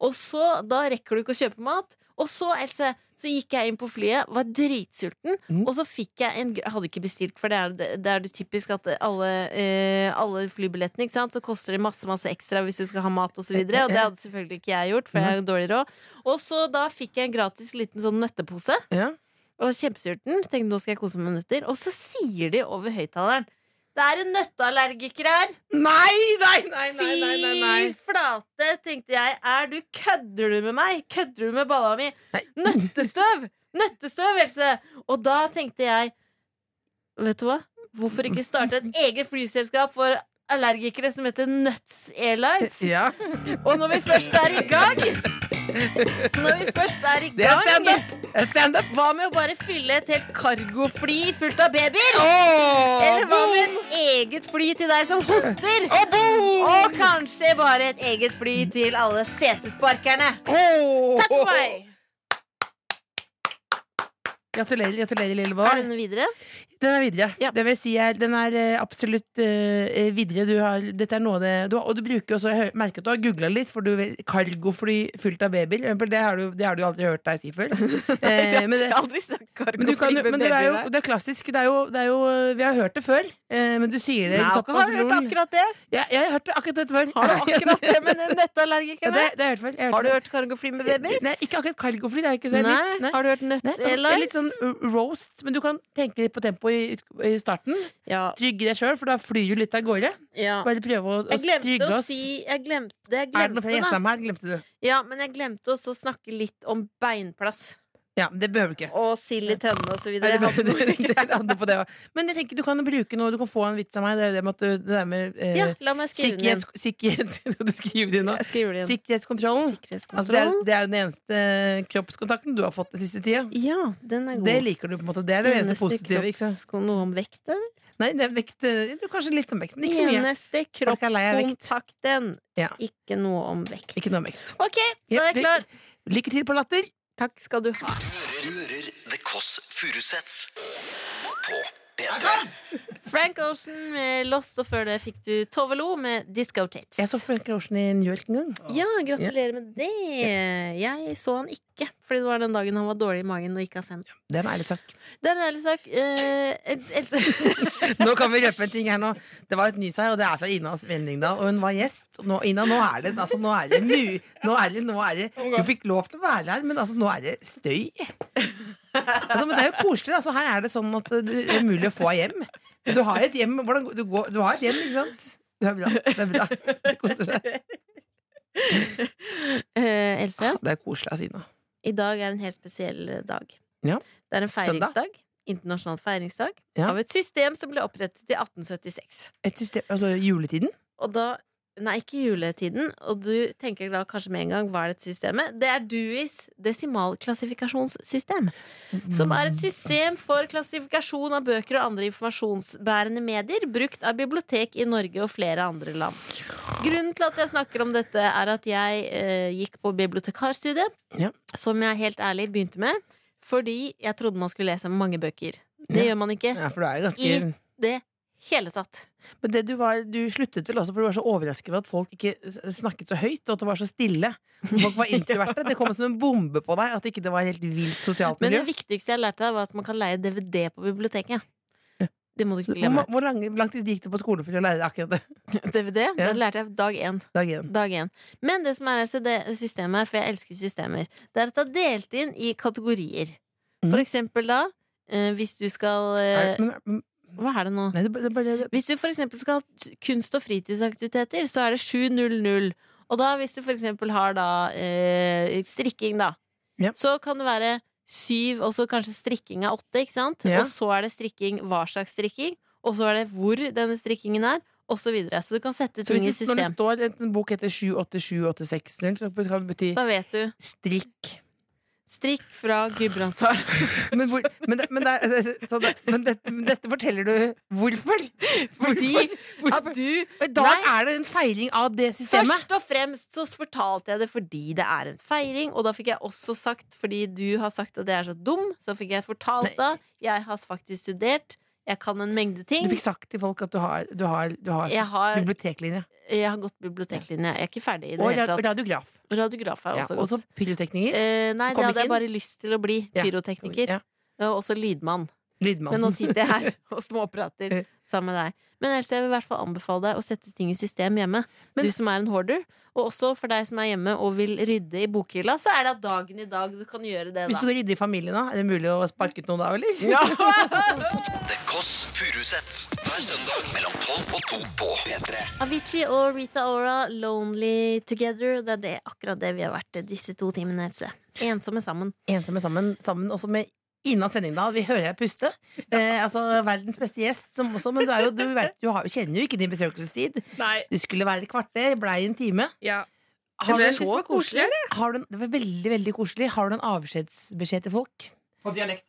Speaker 2: og så da rekker du ikke å kjøpe mat. Og så, Else, så gikk jeg inn på flyet, var dritsulten,
Speaker 3: Mhm.
Speaker 2: og så fikk jeg en gr- Hadde ikke bestilt, for det er det, det, er det typisk at alle, eh, alle flybillettene, ikke sant, så koster det masse, masse ekstra hvis du skal ha mat, og så videre. Og det hadde selvfølgelig ikke jeg gjort, for jeg har dårlig råd. Og så da fikk jeg en gratis liten sånn nøttepose.
Speaker 3: ja.
Speaker 2: Og kjempesulten. Tenkte nå skal jeg kose meg med nøtter. Og så sier de over høyttaleren det er en nøtteallergiker her!
Speaker 3: Nei, nei, nei, nei, nei, nei, nei.
Speaker 2: Fy flate, tenkte jeg. Er du Kødder du med meg? Kødder du med balla mi?
Speaker 3: Nei.
Speaker 2: Nøttestøv! Nøttestøv, Else! Og da tenkte jeg Vet du hva? Hvorfor ikke starte et eget flyselskap for allergikere som heter Nuts Airlines?
Speaker 3: Ja,
Speaker 2: Og når vi først er i gang Når vi først er i
Speaker 3: det er
Speaker 2: gang
Speaker 3: standup! Det er standup!
Speaker 2: hva med å bare fylle et helt cargofly fullt av babyer? Eller hva med et eget fly til deg som hoster? Og kanskje bare et eget fly til alle setesparkerne. Takk for meg!
Speaker 3: Gratulerer, gratulerer,
Speaker 2: Er
Speaker 3: Lillevår.
Speaker 2: denne videre?
Speaker 3: Den er videre.
Speaker 2: Ja.
Speaker 3: Det vil si er, den er eh, absolutt eh, videre. Du har, dette er noe av det du har, Og du bruker også, jeg hø- merker at du har googla litt, for du vet, cargofly fullt av babyer. for eksempel, Det har du, det har du aldri hørt deg si
Speaker 2: *laughs*
Speaker 3: før. Eh, men det,
Speaker 2: aldri sagt
Speaker 3: men, du kan, jo- men det, er jo, det er klassisk. Det er jo, det er jo, vi har hørt det før, eh, men du sier det såpass
Speaker 2: Har du hørt
Speaker 3: rolig.
Speaker 2: akkurat det?
Speaker 3: Ja, jeg har hørt det akkurat dette før. *laughs*
Speaker 2: Har du akkurat det med den
Speaker 3: Ja, det,
Speaker 2: nøtteallergikerne?
Speaker 3: det har jeg hørt før. Jeg
Speaker 2: Har du hørt cargofly med babies?
Speaker 3: Nei, ikke akkurat cargofly. Det er ikke så
Speaker 2: Nei.
Speaker 3: nytt. Nei.
Speaker 2: Har du hørt
Speaker 3: Nei,
Speaker 2: Nuts
Speaker 3: altså, det er litt
Speaker 2: Airlines?
Speaker 3: sånn roast, men du kan tenke litt på tempoet i, i starten.
Speaker 2: Ja,
Speaker 3: Trygge deg sjøl, for da flyr du litt av gårde.
Speaker 2: ja.
Speaker 3: Bare prøve å, å
Speaker 2: Jeg glemte
Speaker 3: trygge
Speaker 2: å
Speaker 3: oss.
Speaker 2: si Jeg glemte det. Jeg
Speaker 3: er det noe
Speaker 2: glemte,
Speaker 3: fra
Speaker 2: da.
Speaker 3: Jessheim her? Glemte du?
Speaker 2: Ja, men jeg glemte også å snakke litt om beinplass.
Speaker 3: Ja, det behøver du ikke.
Speaker 2: Og sild i tønne og så
Speaker 3: Nei,
Speaker 2: videre.
Speaker 3: det behøver du
Speaker 2: *laughs*
Speaker 3: ikke. Det er andre på det også. Men jeg tenker du kan bruke noe, du kan få en vits av meg. Det er jo det med, at du, det der med eh,
Speaker 2: Ja, la meg skrive den inn.
Speaker 3: sikkerhets, sikkerhets, *laughs* Skal du skrive det inn nå?
Speaker 2: Jeg skriver den inn.
Speaker 3: Sikkerhetskontrollen. Altså, det, er,
Speaker 2: Sikkerhetskontroll.
Speaker 3: det er jo den eneste eh, kroppskontakten du har fått den siste tida.
Speaker 2: Ja, den er god.
Speaker 3: Det liker du, på en måte. Det er det eneste
Speaker 2: Eneste
Speaker 3: positive. Ikke sant?
Speaker 2: kropps- Noe om vekt, eller?
Speaker 3: Nei, det er vekt, eh, du, kanskje litt om vekten. Ikke så mye.
Speaker 2: Eneste
Speaker 3: Folk er lei av vekt.
Speaker 2: kroppskontakten.
Speaker 3: Ja.
Speaker 2: Ikke noe om vekt.
Speaker 3: Ikke noe om vekt.
Speaker 2: OK, da
Speaker 3: Ja,
Speaker 2: er jeg klar.
Speaker 3: ly- Lykke til på Latter.
Speaker 2: Takk skal du ha.
Speaker 1: Du hører The Kåss Furuseths på P3.
Speaker 2: Frank Ocean med Lost, og før det fikk du Tove Lo med Disco Tits.
Speaker 3: Jeg så Frank Larsen i New York en gang.
Speaker 2: Ja, gratulerer med det. Jeg så han ikke, fordi det var den dagen han var dårlig i magen og ikke har sendt.
Speaker 3: Det er en ærlig sak.
Speaker 2: Det er en ærlig sak. Eh, Else *laughs*
Speaker 3: Nå kan vi røpe en ting her nå. Det var et nys her, og det er fra Ina Svenningdal. Og hun var gjest. Og Nå, Ina, nå er det altså, nå er det, mu, nå er det, nå er det Du fikk lov til å være her, men altså, nå er det støy. Altså, men det er jo koselig. Altså, her er det sånn at det er mulig å få hjem. Du har et hjem, hvordan, du går, du har et hjem ikke sant? Det er bra. Det er bra. Det koser seg.
Speaker 2: Eh, Else,
Speaker 3: Det er koselig av Ina.
Speaker 2: i dag er en helt spesiell eh, dag.
Speaker 3: Ja.
Speaker 2: Det er en
Speaker 3: Søndag.
Speaker 2: feiringsdag. Internasjonal feiringsdag
Speaker 3: Ja.
Speaker 2: av et system som ble opprettet i 1876.
Speaker 3: Et system, altså juletiden?
Speaker 2: Og da Nei, ikke juletiden. Og du tenker da kanskje med en gang hva er dette systemet? Det er DUIs desimalklassifikasjonssystem. Som er et system for klassifikasjon av bøker og andre informasjonsbærende medier brukt av bibliotek i Norge og flere andre land. Grunnen til at jeg snakker om dette, er at jeg eh, gikk på bibliotekarstudiet,
Speaker 3: Ja.
Speaker 2: som jeg helt ærlig begynte med, fordi jeg trodde man skulle lese mange bøker. Det
Speaker 3: Ja.
Speaker 2: gjør man ikke.
Speaker 3: Mm. Ja, for du er jo ganske
Speaker 2: I- Det hele tatt.
Speaker 3: Men det du, var, du sluttet vel også, for du var så overrasket over at folk ikke s- snakket så høyt, og at det var så stille. Folk var introverte. Det kom som en bombe på deg at ikke det var helt vilt sosialt
Speaker 2: Men
Speaker 3: miljø.
Speaker 2: det viktigste jeg lærte, deg var at man kan leie DVD på biblioteket. Det må du ikke
Speaker 3: Hvor,
Speaker 2: glemme.
Speaker 3: ma- hvor lang, lang tid gikk du på skole for å lære deg akkurat det?
Speaker 2: DVD, det lærte jeg dag én.
Speaker 3: Dag én.
Speaker 2: Dag én. Men det som er altså det systemet her, for jeg elsker systemer, det er at det er delt inn i kategorier.
Speaker 3: Mhm.
Speaker 2: For eksempel da, eh, hvis du skal eh,
Speaker 3: Er- men- men-
Speaker 2: Hva er det nå?
Speaker 3: Nei, det, det, bare- det,
Speaker 2: Hvis du for eksempel skal ha t- kunst- og fritidsaktiviteter, så er det 7.00. Og da, hvis du for eksempel har da eh, strikking, da,
Speaker 3: Ja.
Speaker 2: så kan det være syv, og så kanskje strikking er åtte, ikke sant?
Speaker 3: Ja.
Speaker 2: Og så er det strikking, hva slags strikking, og så er det hvor denne strikkingen er, og så videre. Så du kan sette
Speaker 3: så
Speaker 2: ting i
Speaker 3: hvis det, når det
Speaker 2: system.
Speaker 3: står en bok heter 787860, så kan det bety
Speaker 2: Da vet du.
Speaker 3: strikk.
Speaker 2: Strikk fra *laughs* Gudbrandsdal.
Speaker 3: Men, hvor, men, det- men, det er- altså, så det, men, det, men dette forteller du hvorfor?
Speaker 2: Fordi
Speaker 3: Hvorfor?
Speaker 2: at
Speaker 3: Hvorfor?
Speaker 2: du
Speaker 3: Og I dag er det en feiring av det systemet.
Speaker 2: Først og fremst så fortalte jeg det fordi det er en feiring, og da fikk jeg også sagt, fordi du har sagt at jeg er så dum, så fikk jeg fortalt det. Jeg har faktisk studert, jeg kan en mengde ting.
Speaker 3: Du fikk sagt til folk at du har, du har, du har
Speaker 2: Jeg har,
Speaker 3: biblioteklinje.
Speaker 2: jeg har gått biblioteklinje. Jeg er ikke ferdig i det
Speaker 3: Og
Speaker 2: hele
Speaker 3: ra-
Speaker 2: tatt.
Speaker 3: radiograf.
Speaker 2: Radiograf har
Speaker 3: Ja,
Speaker 2: jeg også
Speaker 3: og så
Speaker 2: gått.
Speaker 3: pyrotekniker.
Speaker 2: Eh, nei,
Speaker 3: Du
Speaker 2: det
Speaker 3: kom
Speaker 2: hadde
Speaker 3: ikke
Speaker 2: jeg bare lyst til å bli.
Speaker 3: Ja.
Speaker 2: Pyrotekniker.
Speaker 3: Ja.
Speaker 2: Og også lydmann. Eh, Men
Speaker 3: Lydmannen.
Speaker 2: nå sitter
Speaker 3: *laughs*
Speaker 2: jeg her og småprater sammen med deg. Men ellers jeg vil i hvert fall anbefale deg å sette ting i system hjemme.
Speaker 3: Men-
Speaker 2: du som er en hoarder. Og også for deg som er hjemme og vil rydde i bokhylla, så er det dagen i dag du kan gjøre det,
Speaker 3: Hvis du
Speaker 2: da.
Speaker 3: skal rydde i familien, da, er det mulig å sparke ut noen da, eller?
Speaker 1: The Kåss Furuseths. Hver søndag mellom 12 og 2 på P3.
Speaker 2: Avicii og Rita Ora, 'Lonely Together'. Det er det, akkurat det vi har vært disse to timene. Else. Ensomme sammen.
Speaker 3: *laughs* Ensomme sammen, sammen også med Ina Svenningdal. Vi hører deg puste. Eh, altså, verdens beste gjest, som også, men du, er jo, du, vet, du har jo, kjenner jo ikke din besøkelsestid.
Speaker 6: Nei.
Speaker 3: Du skulle være et kvarter, blei en time.
Speaker 6: Ja.
Speaker 3: Har
Speaker 6: ble-
Speaker 3: du,
Speaker 6: jeg synes det var koselig,
Speaker 3: har du, en- det var veldig, veldig koselig. Har du en avskjedsbeskjed til folk?
Speaker 7: På dialekt.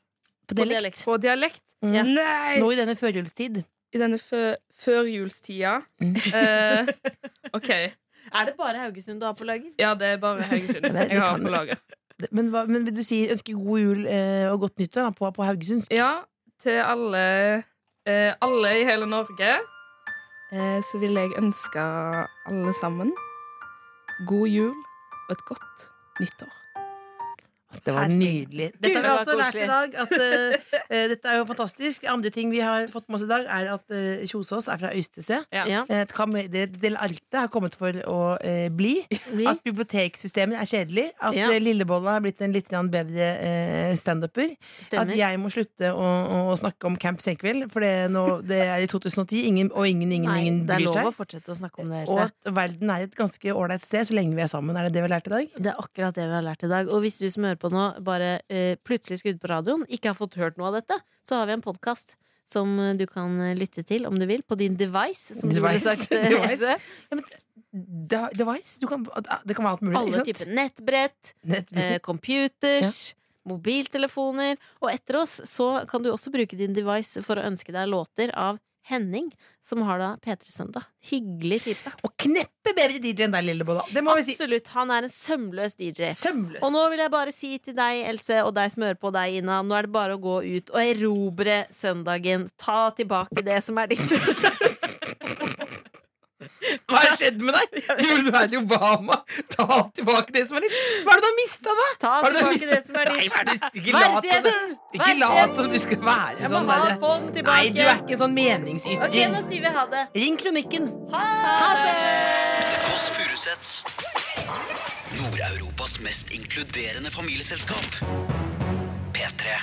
Speaker 3: På
Speaker 2: På
Speaker 3: dialekt?
Speaker 2: dialekt.
Speaker 6: På dialekt.
Speaker 3: Ja.
Speaker 6: Nei!
Speaker 3: Nå i denne førjulstid.
Speaker 6: I denne fø førjulstida. Eh, *laughs* OK.
Speaker 2: Er det bare Haugesund du har på lager?
Speaker 6: Ja, det er bare *laughs* Haugesund
Speaker 3: Men det
Speaker 6: jeg har
Speaker 3: kan-
Speaker 6: på lager.
Speaker 3: Men, hva, men vil du si ønske god jul eh, og godt nyttår da, på, på Haugesundsk?
Speaker 6: Ja, til alle eh, Alle i hele Norge eh, så vil jeg ønske alle sammen god jul og et godt nyttår.
Speaker 3: Det var nydelig. Dette har vi altså lært i dag. At, eh, eh, dette er jo fantastisk. Andre ting vi har fått med oss i dag, er at eh, Kjosås er fra Øystese.
Speaker 6: Ja.
Speaker 2: Ja.
Speaker 3: Eh, et kam- det- Del Arte har kommet for å eh, bli. At biblioteksystemet er kjedelig. At
Speaker 2: Ja.
Speaker 3: eh, Lillebolla har blitt en litt grann bedre eh, standuper. At
Speaker 2: Stemmer.
Speaker 3: jeg må slutte å, å snakke om Camp Senkveld, for det, er nå, det er i 2010, ingen, og ingen, ingen,
Speaker 2: Nei,
Speaker 3: ingen
Speaker 2: det er
Speaker 3: bryr
Speaker 2: lov å
Speaker 3: seg.
Speaker 2: fortsette å snakke om det.
Speaker 3: Og
Speaker 2: Else.
Speaker 3: at verden er et ganske ålreit sted så lenge vi er sammen. Er det det vi har lært i dag?
Speaker 2: Det er akkurat det vi har lært i dag. Og hvis du som hører på nå, bare eh, plutselig skal ut på radioen, ikke har fått hørt noe av dette, så har vi en podkast som eh, du kan eh, lytte til om du vil, på din device. Som
Speaker 3: Device.
Speaker 2: Du ville sagt, eh,
Speaker 3: Device.
Speaker 2: Else.
Speaker 3: Ja, men de- device? Du kan, det kan være alt mulig. ikke
Speaker 2: Alle
Speaker 3: sant? Mhm.
Speaker 2: typer nettbrett,
Speaker 3: Nettbruk.
Speaker 2: eh, computers. Mobiltelefoner. Og etter oss så kan du også bruke din device for å ønske deg låter av Henning, som har da P3 Søndag. Hyggelig type.
Speaker 3: Og kneppe bedre DJ enn deg, Lillebolla. Det må vi si.
Speaker 2: Absolutt. Han er en sømløs DJ.
Speaker 3: Sømløst.
Speaker 2: Og nå vil jeg bare si til deg, Else, og deg som hører på deg, Ina, nå er det bare å gå ut og erobre søndagen. Ta tilbake det som er ditt. *laughs*
Speaker 3: hva har skjedd med deg? Tror du du er i Obama? Ta tilbake det som er ditt. Hva er det du har mista, da?
Speaker 2: Ta
Speaker 3: Hva er det du har
Speaker 2: tilbake det
Speaker 3: mistet?
Speaker 2: som er
Speaker 3: Nei,
Speaker 2: ditt.
Speaker 3: hva er det du- ikke lat som du-
Speaker 2: Verdigheten!
Speaker 3: Ikke lat som du skal være
Speaker 2: Jeg må
Speaker 3: sånn.
Speaker 2: ha,
Speaker 3: der.
Speaker 2: få den tilbake.
Speaker 3: Nei, du er ikke en sånn
Speaker 2: Ok, nå
Speaker 3: meningsytring.
Speaker 2: sier vi ha det.
Speaker 3: Ring kronikken.
Speaker 2: Ha det!
Speaker 1: The Kåss Furuseths. Nord-Europas mest inkluderende familieselskap. P3.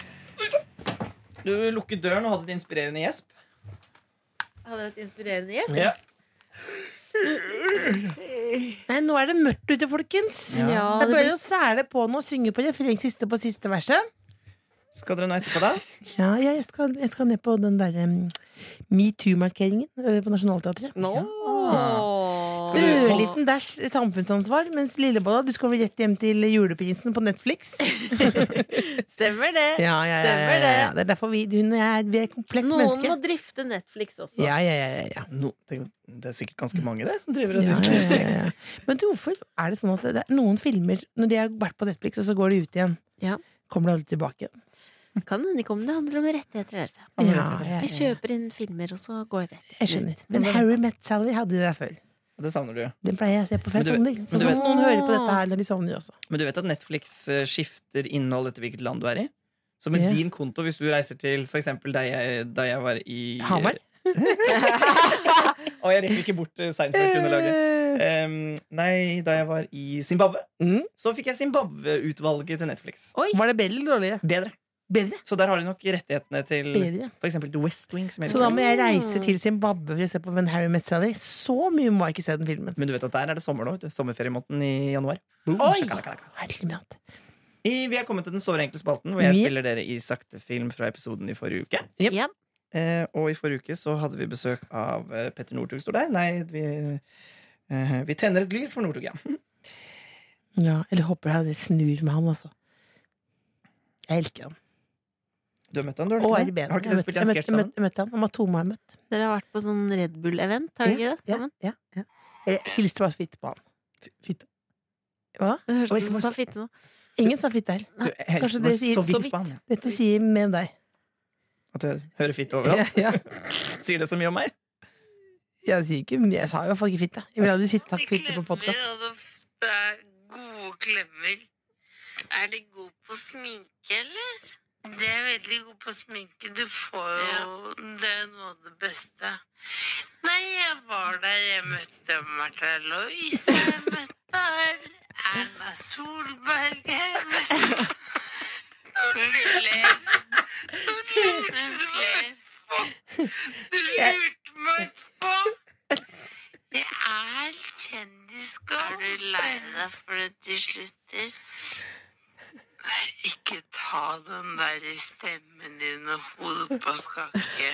Speaker 7: Du lukket døren og hadde et inspirerende gjesp.
Speaker 2: Hadde et inspirerende gjest.
Speaker 7: Ja.
Speaker 3: Nei, nå er det mørkt ute, folkens.
Speaker 7: Ja.
Speaker 2: Ja,
Speaker 3: Det er
Speaker 2: det
Speaker 3: bare
Speaker 2: blir-
Speaker 3: å sæle på nå og synge på refreng siste på siste verset.
Speaker 7: Skal dere nå etterpå,
Speaker 3: *laughs*
Speaker 7: da?
Speaker 3: Ja, ja, jeg, skal, jeg skal ned på den derre metoo-markeringen ø, på Nationaltheatret.
Speaker 2: Nå.
Speaker 7: Skal du-
Speaker 3: Ørliten dash samfunnsansvar, mens Lillebolla, du skal vel rett hjem til Juleprinsen på Netflix.
Speaker 2: Stemmer det.
Speaker 3: Ja, ja, ja, ja, ja, ja. Det er derfor vi, hun og jeg vi er komplett
Speaker 2: Noen må
Speaker 3: menneske.
Speaker 2: drifte Netflix også.
Speaker 3: Ja, ja, ja, ja, ja.
Speaker 7: No, tenk, det er sikkert ganske mange det som driver
Speaker 3: Ja,
Speaker 7: og
Speaker 3: ja,
Speaker 7: dukker.
Speaker 3: ja, ja. Men du, hvorfor er det sånn at det er noen filmer Når de har vært på Netflix, og så går de ut igjen,
Speaker 2: Ja.
Speaker 3: kommer de aldri tilbake? igjen?
Speaker 2: Kan hende ikke om det handler om rettigheter. Else.
Speaker 3: Ja, ja,
Speaker 2: De
Speaker 3: ja.
Speaker 2: kjøper inn filmer, og så går det
Speaker 3: Jeg skjønner. Men Harry Met Sally hadde det der før.
Speaker 7: Og det savner du.
Speaker 3: Den pleier jeg å se på før jeg
Speaker 7: Men du
Speaker 3: sovner.
Speaker 7: vet-
Speaker 3: Sånn
Speaker 7: men du
Speaker 3: som
Speaker 2: vet-
Speaker 3: noen hører på dette her når de sovner også.
Speaker 7: Men du vet at Netflix eh, skifter innhold etter hvilket land du er i? Så med
Speaker 3: Ja.
Speaker 7: din konto, hvis du reiser til for eksempel da jeg, da jeg var i
Speaker 3: Hamar?
Speaker 7: Og jeg rekker ikke bort eh, Seinfeld-underlaget. Em, nei, da jeg var i Zimbabwe,
Speaker 3: Mm.
Speaker 7: så fikk jeg Zimbabwe-utvalget til Netflix.
Speaker 3: Oi. Var det bedre eller dårligere?
Speaker 7: Bedre.
Speaker 3: Bedre.
Speaker 7: Så der har de nok rettighetene til
Speaker 3: bedre.
Speaker 7: for eksempel The West Wing. Som jeg
Speaker 3: Så da
Speaker 7: liker.
Speaker 3: må jeg reise til Zimbabwe for å se på When Harry Met Sally. Så mye må jeg ikke se den filmen.
Speaker 7: Men du vet at der er det sommer nå. vet du. Sommerferiemåneden i januar. Boom,
Speaker 3: Oi!
Speaker 7: shakalaka.
Speaker 3: Herlig med at-
Speaker 7: I, vi er kommet til den såre enkle spalten, hvor jeg
Speaker 3: Vi-
Speaker 7: spiller dere i sakte film fra episoden i forrige uke.
Speaker 3: Jep.
Speaker 2: Jep.
Speaker 7: Eh, og i forrige uke så hadde vi besøk av eh, Petter Northug står der. Nei, vi, eh, vi tenner et lys for Northug, ja.
Speaker 3: Ja, eller håper jeg det snur med han, altså. Jeg elsker ham.
Speaker 7: Du har møtt han, du?
Speaker 3: Og
Speaker 7: har du ikke det?
Speaker 3: arbeidet.
Speaker 7: Har ikke
Speaker 3: Jeg
Speaker 7: dere
Speaker 3: møtte-
Speaker 7: spilt
Speaker 3: jeg
Speaker 7: en
Speaker 3: møtte-
Speaker 7: sketsj sammen?
Speaker 3: møtte- møtte han. Han var to må jeg møtt.
Speaker 2: Dere har vært på sånn Red Bull-event, har dere ikke det?
Speaker 3: Ja,
Speaker 2: Sammen?
Speaker 3: ja, ja. Jeg hilste bare fitte på han. Fitte. Hva?
Speaker 2: Det høres
Speaker 7: Oi,
Speaker 2: ut som du
Speaker 7: så-
Speaker 2: sa fitte nå.
Speaker 3: Ingen sa fitte her.
Speaker 7: Du, jeg
Speaker 3: Kanskje
Speaker 7: hilser
Speaker 3: dere
Speaker 7: meg
Speaker 3: sier
Speaker 7: så
Speaker 3: så
Speaker 7: vidt på han, jeg.
Speaker 3: Dette sier mer om deg.
Speaker 7: At jeg hører fitte
Speaker 3: *laughs*
Speaker 7: overalt. *laughs*
Speaker 3: Ja,
Speaker 7: Sier det så mye om *laughs* meg?
Speaker 3: Jeg, sier ikke, jeg sa jo i hvert fall ikke fitte. Jeg ville aldri si takk fitte på podkast.
Speaker 5: Det er gode klemmer. Er de god på sminke, eller? De er veldig god på sminke. Du får jo Det er jo noe av det beste. Nei, jeg var der. Jeg møtte Martha Loise. Jeg møtte Erna Solberg. Jeg møtte Hun ler. Hun ler. Hun ler. Du lurte meg utpå! Det er kjendisskap. Er du lei deg for at de slutter? Nei, ikke ta den der i stemmen din og hodet på skakke.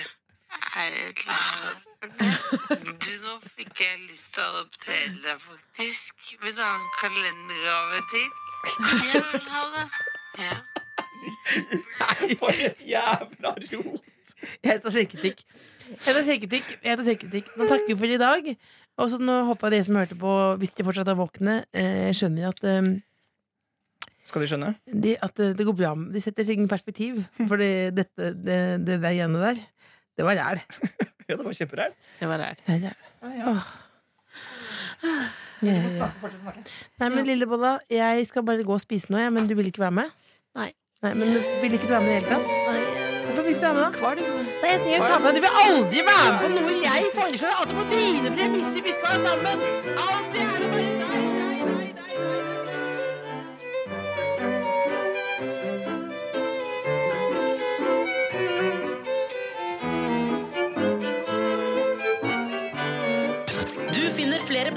Speaker 5: Er du lei deg for det? Du, nå fikk jeg lyst til å adoptere deg, faktisk. Vil du ha en kalendergave til? Jeg vil ha det. Ja.
Speaker 7: For et jævla rot!
Speaker 3: *laughs* Jeg heter Silketikk. Jeg heter Silketikk. Jeg heter Silketikk. Nå takker vi for i dag. Og så nå håper jeg dere som hørte på, hvis de fortsatt er våkne, eh, skjønner at, eh,
Speaker 7: Skal de skjønne?
Speaker 3: de, at eh, det går bra. med- De setter ting i perspektiv. For det, dette, det, det der greiene der, det var ræl.
Speaker 7: Ja, det var kjemperært.
Speaker 2: Det var ræl.
Speaker 3: Ja, det er det. Åh. Ja, ja. Nei, men Lillebolla, jeg skal bare gå og spise noe, jeg, men du vil ikke være med?
Speaker 2: Nei.
Speaker 3: Nei, men du vil ikke du være med i det hele tatt? Hvorfor vil ikke du være med, da? Nei, jeg tenker å ta med deg. Du vil aldri være med på noe jeg foreslår! Alltid på dine premisser vi skal være sammen! Alltid er det bare deg, deg, deg, deg, deg.
Speaker 8: Du finner flere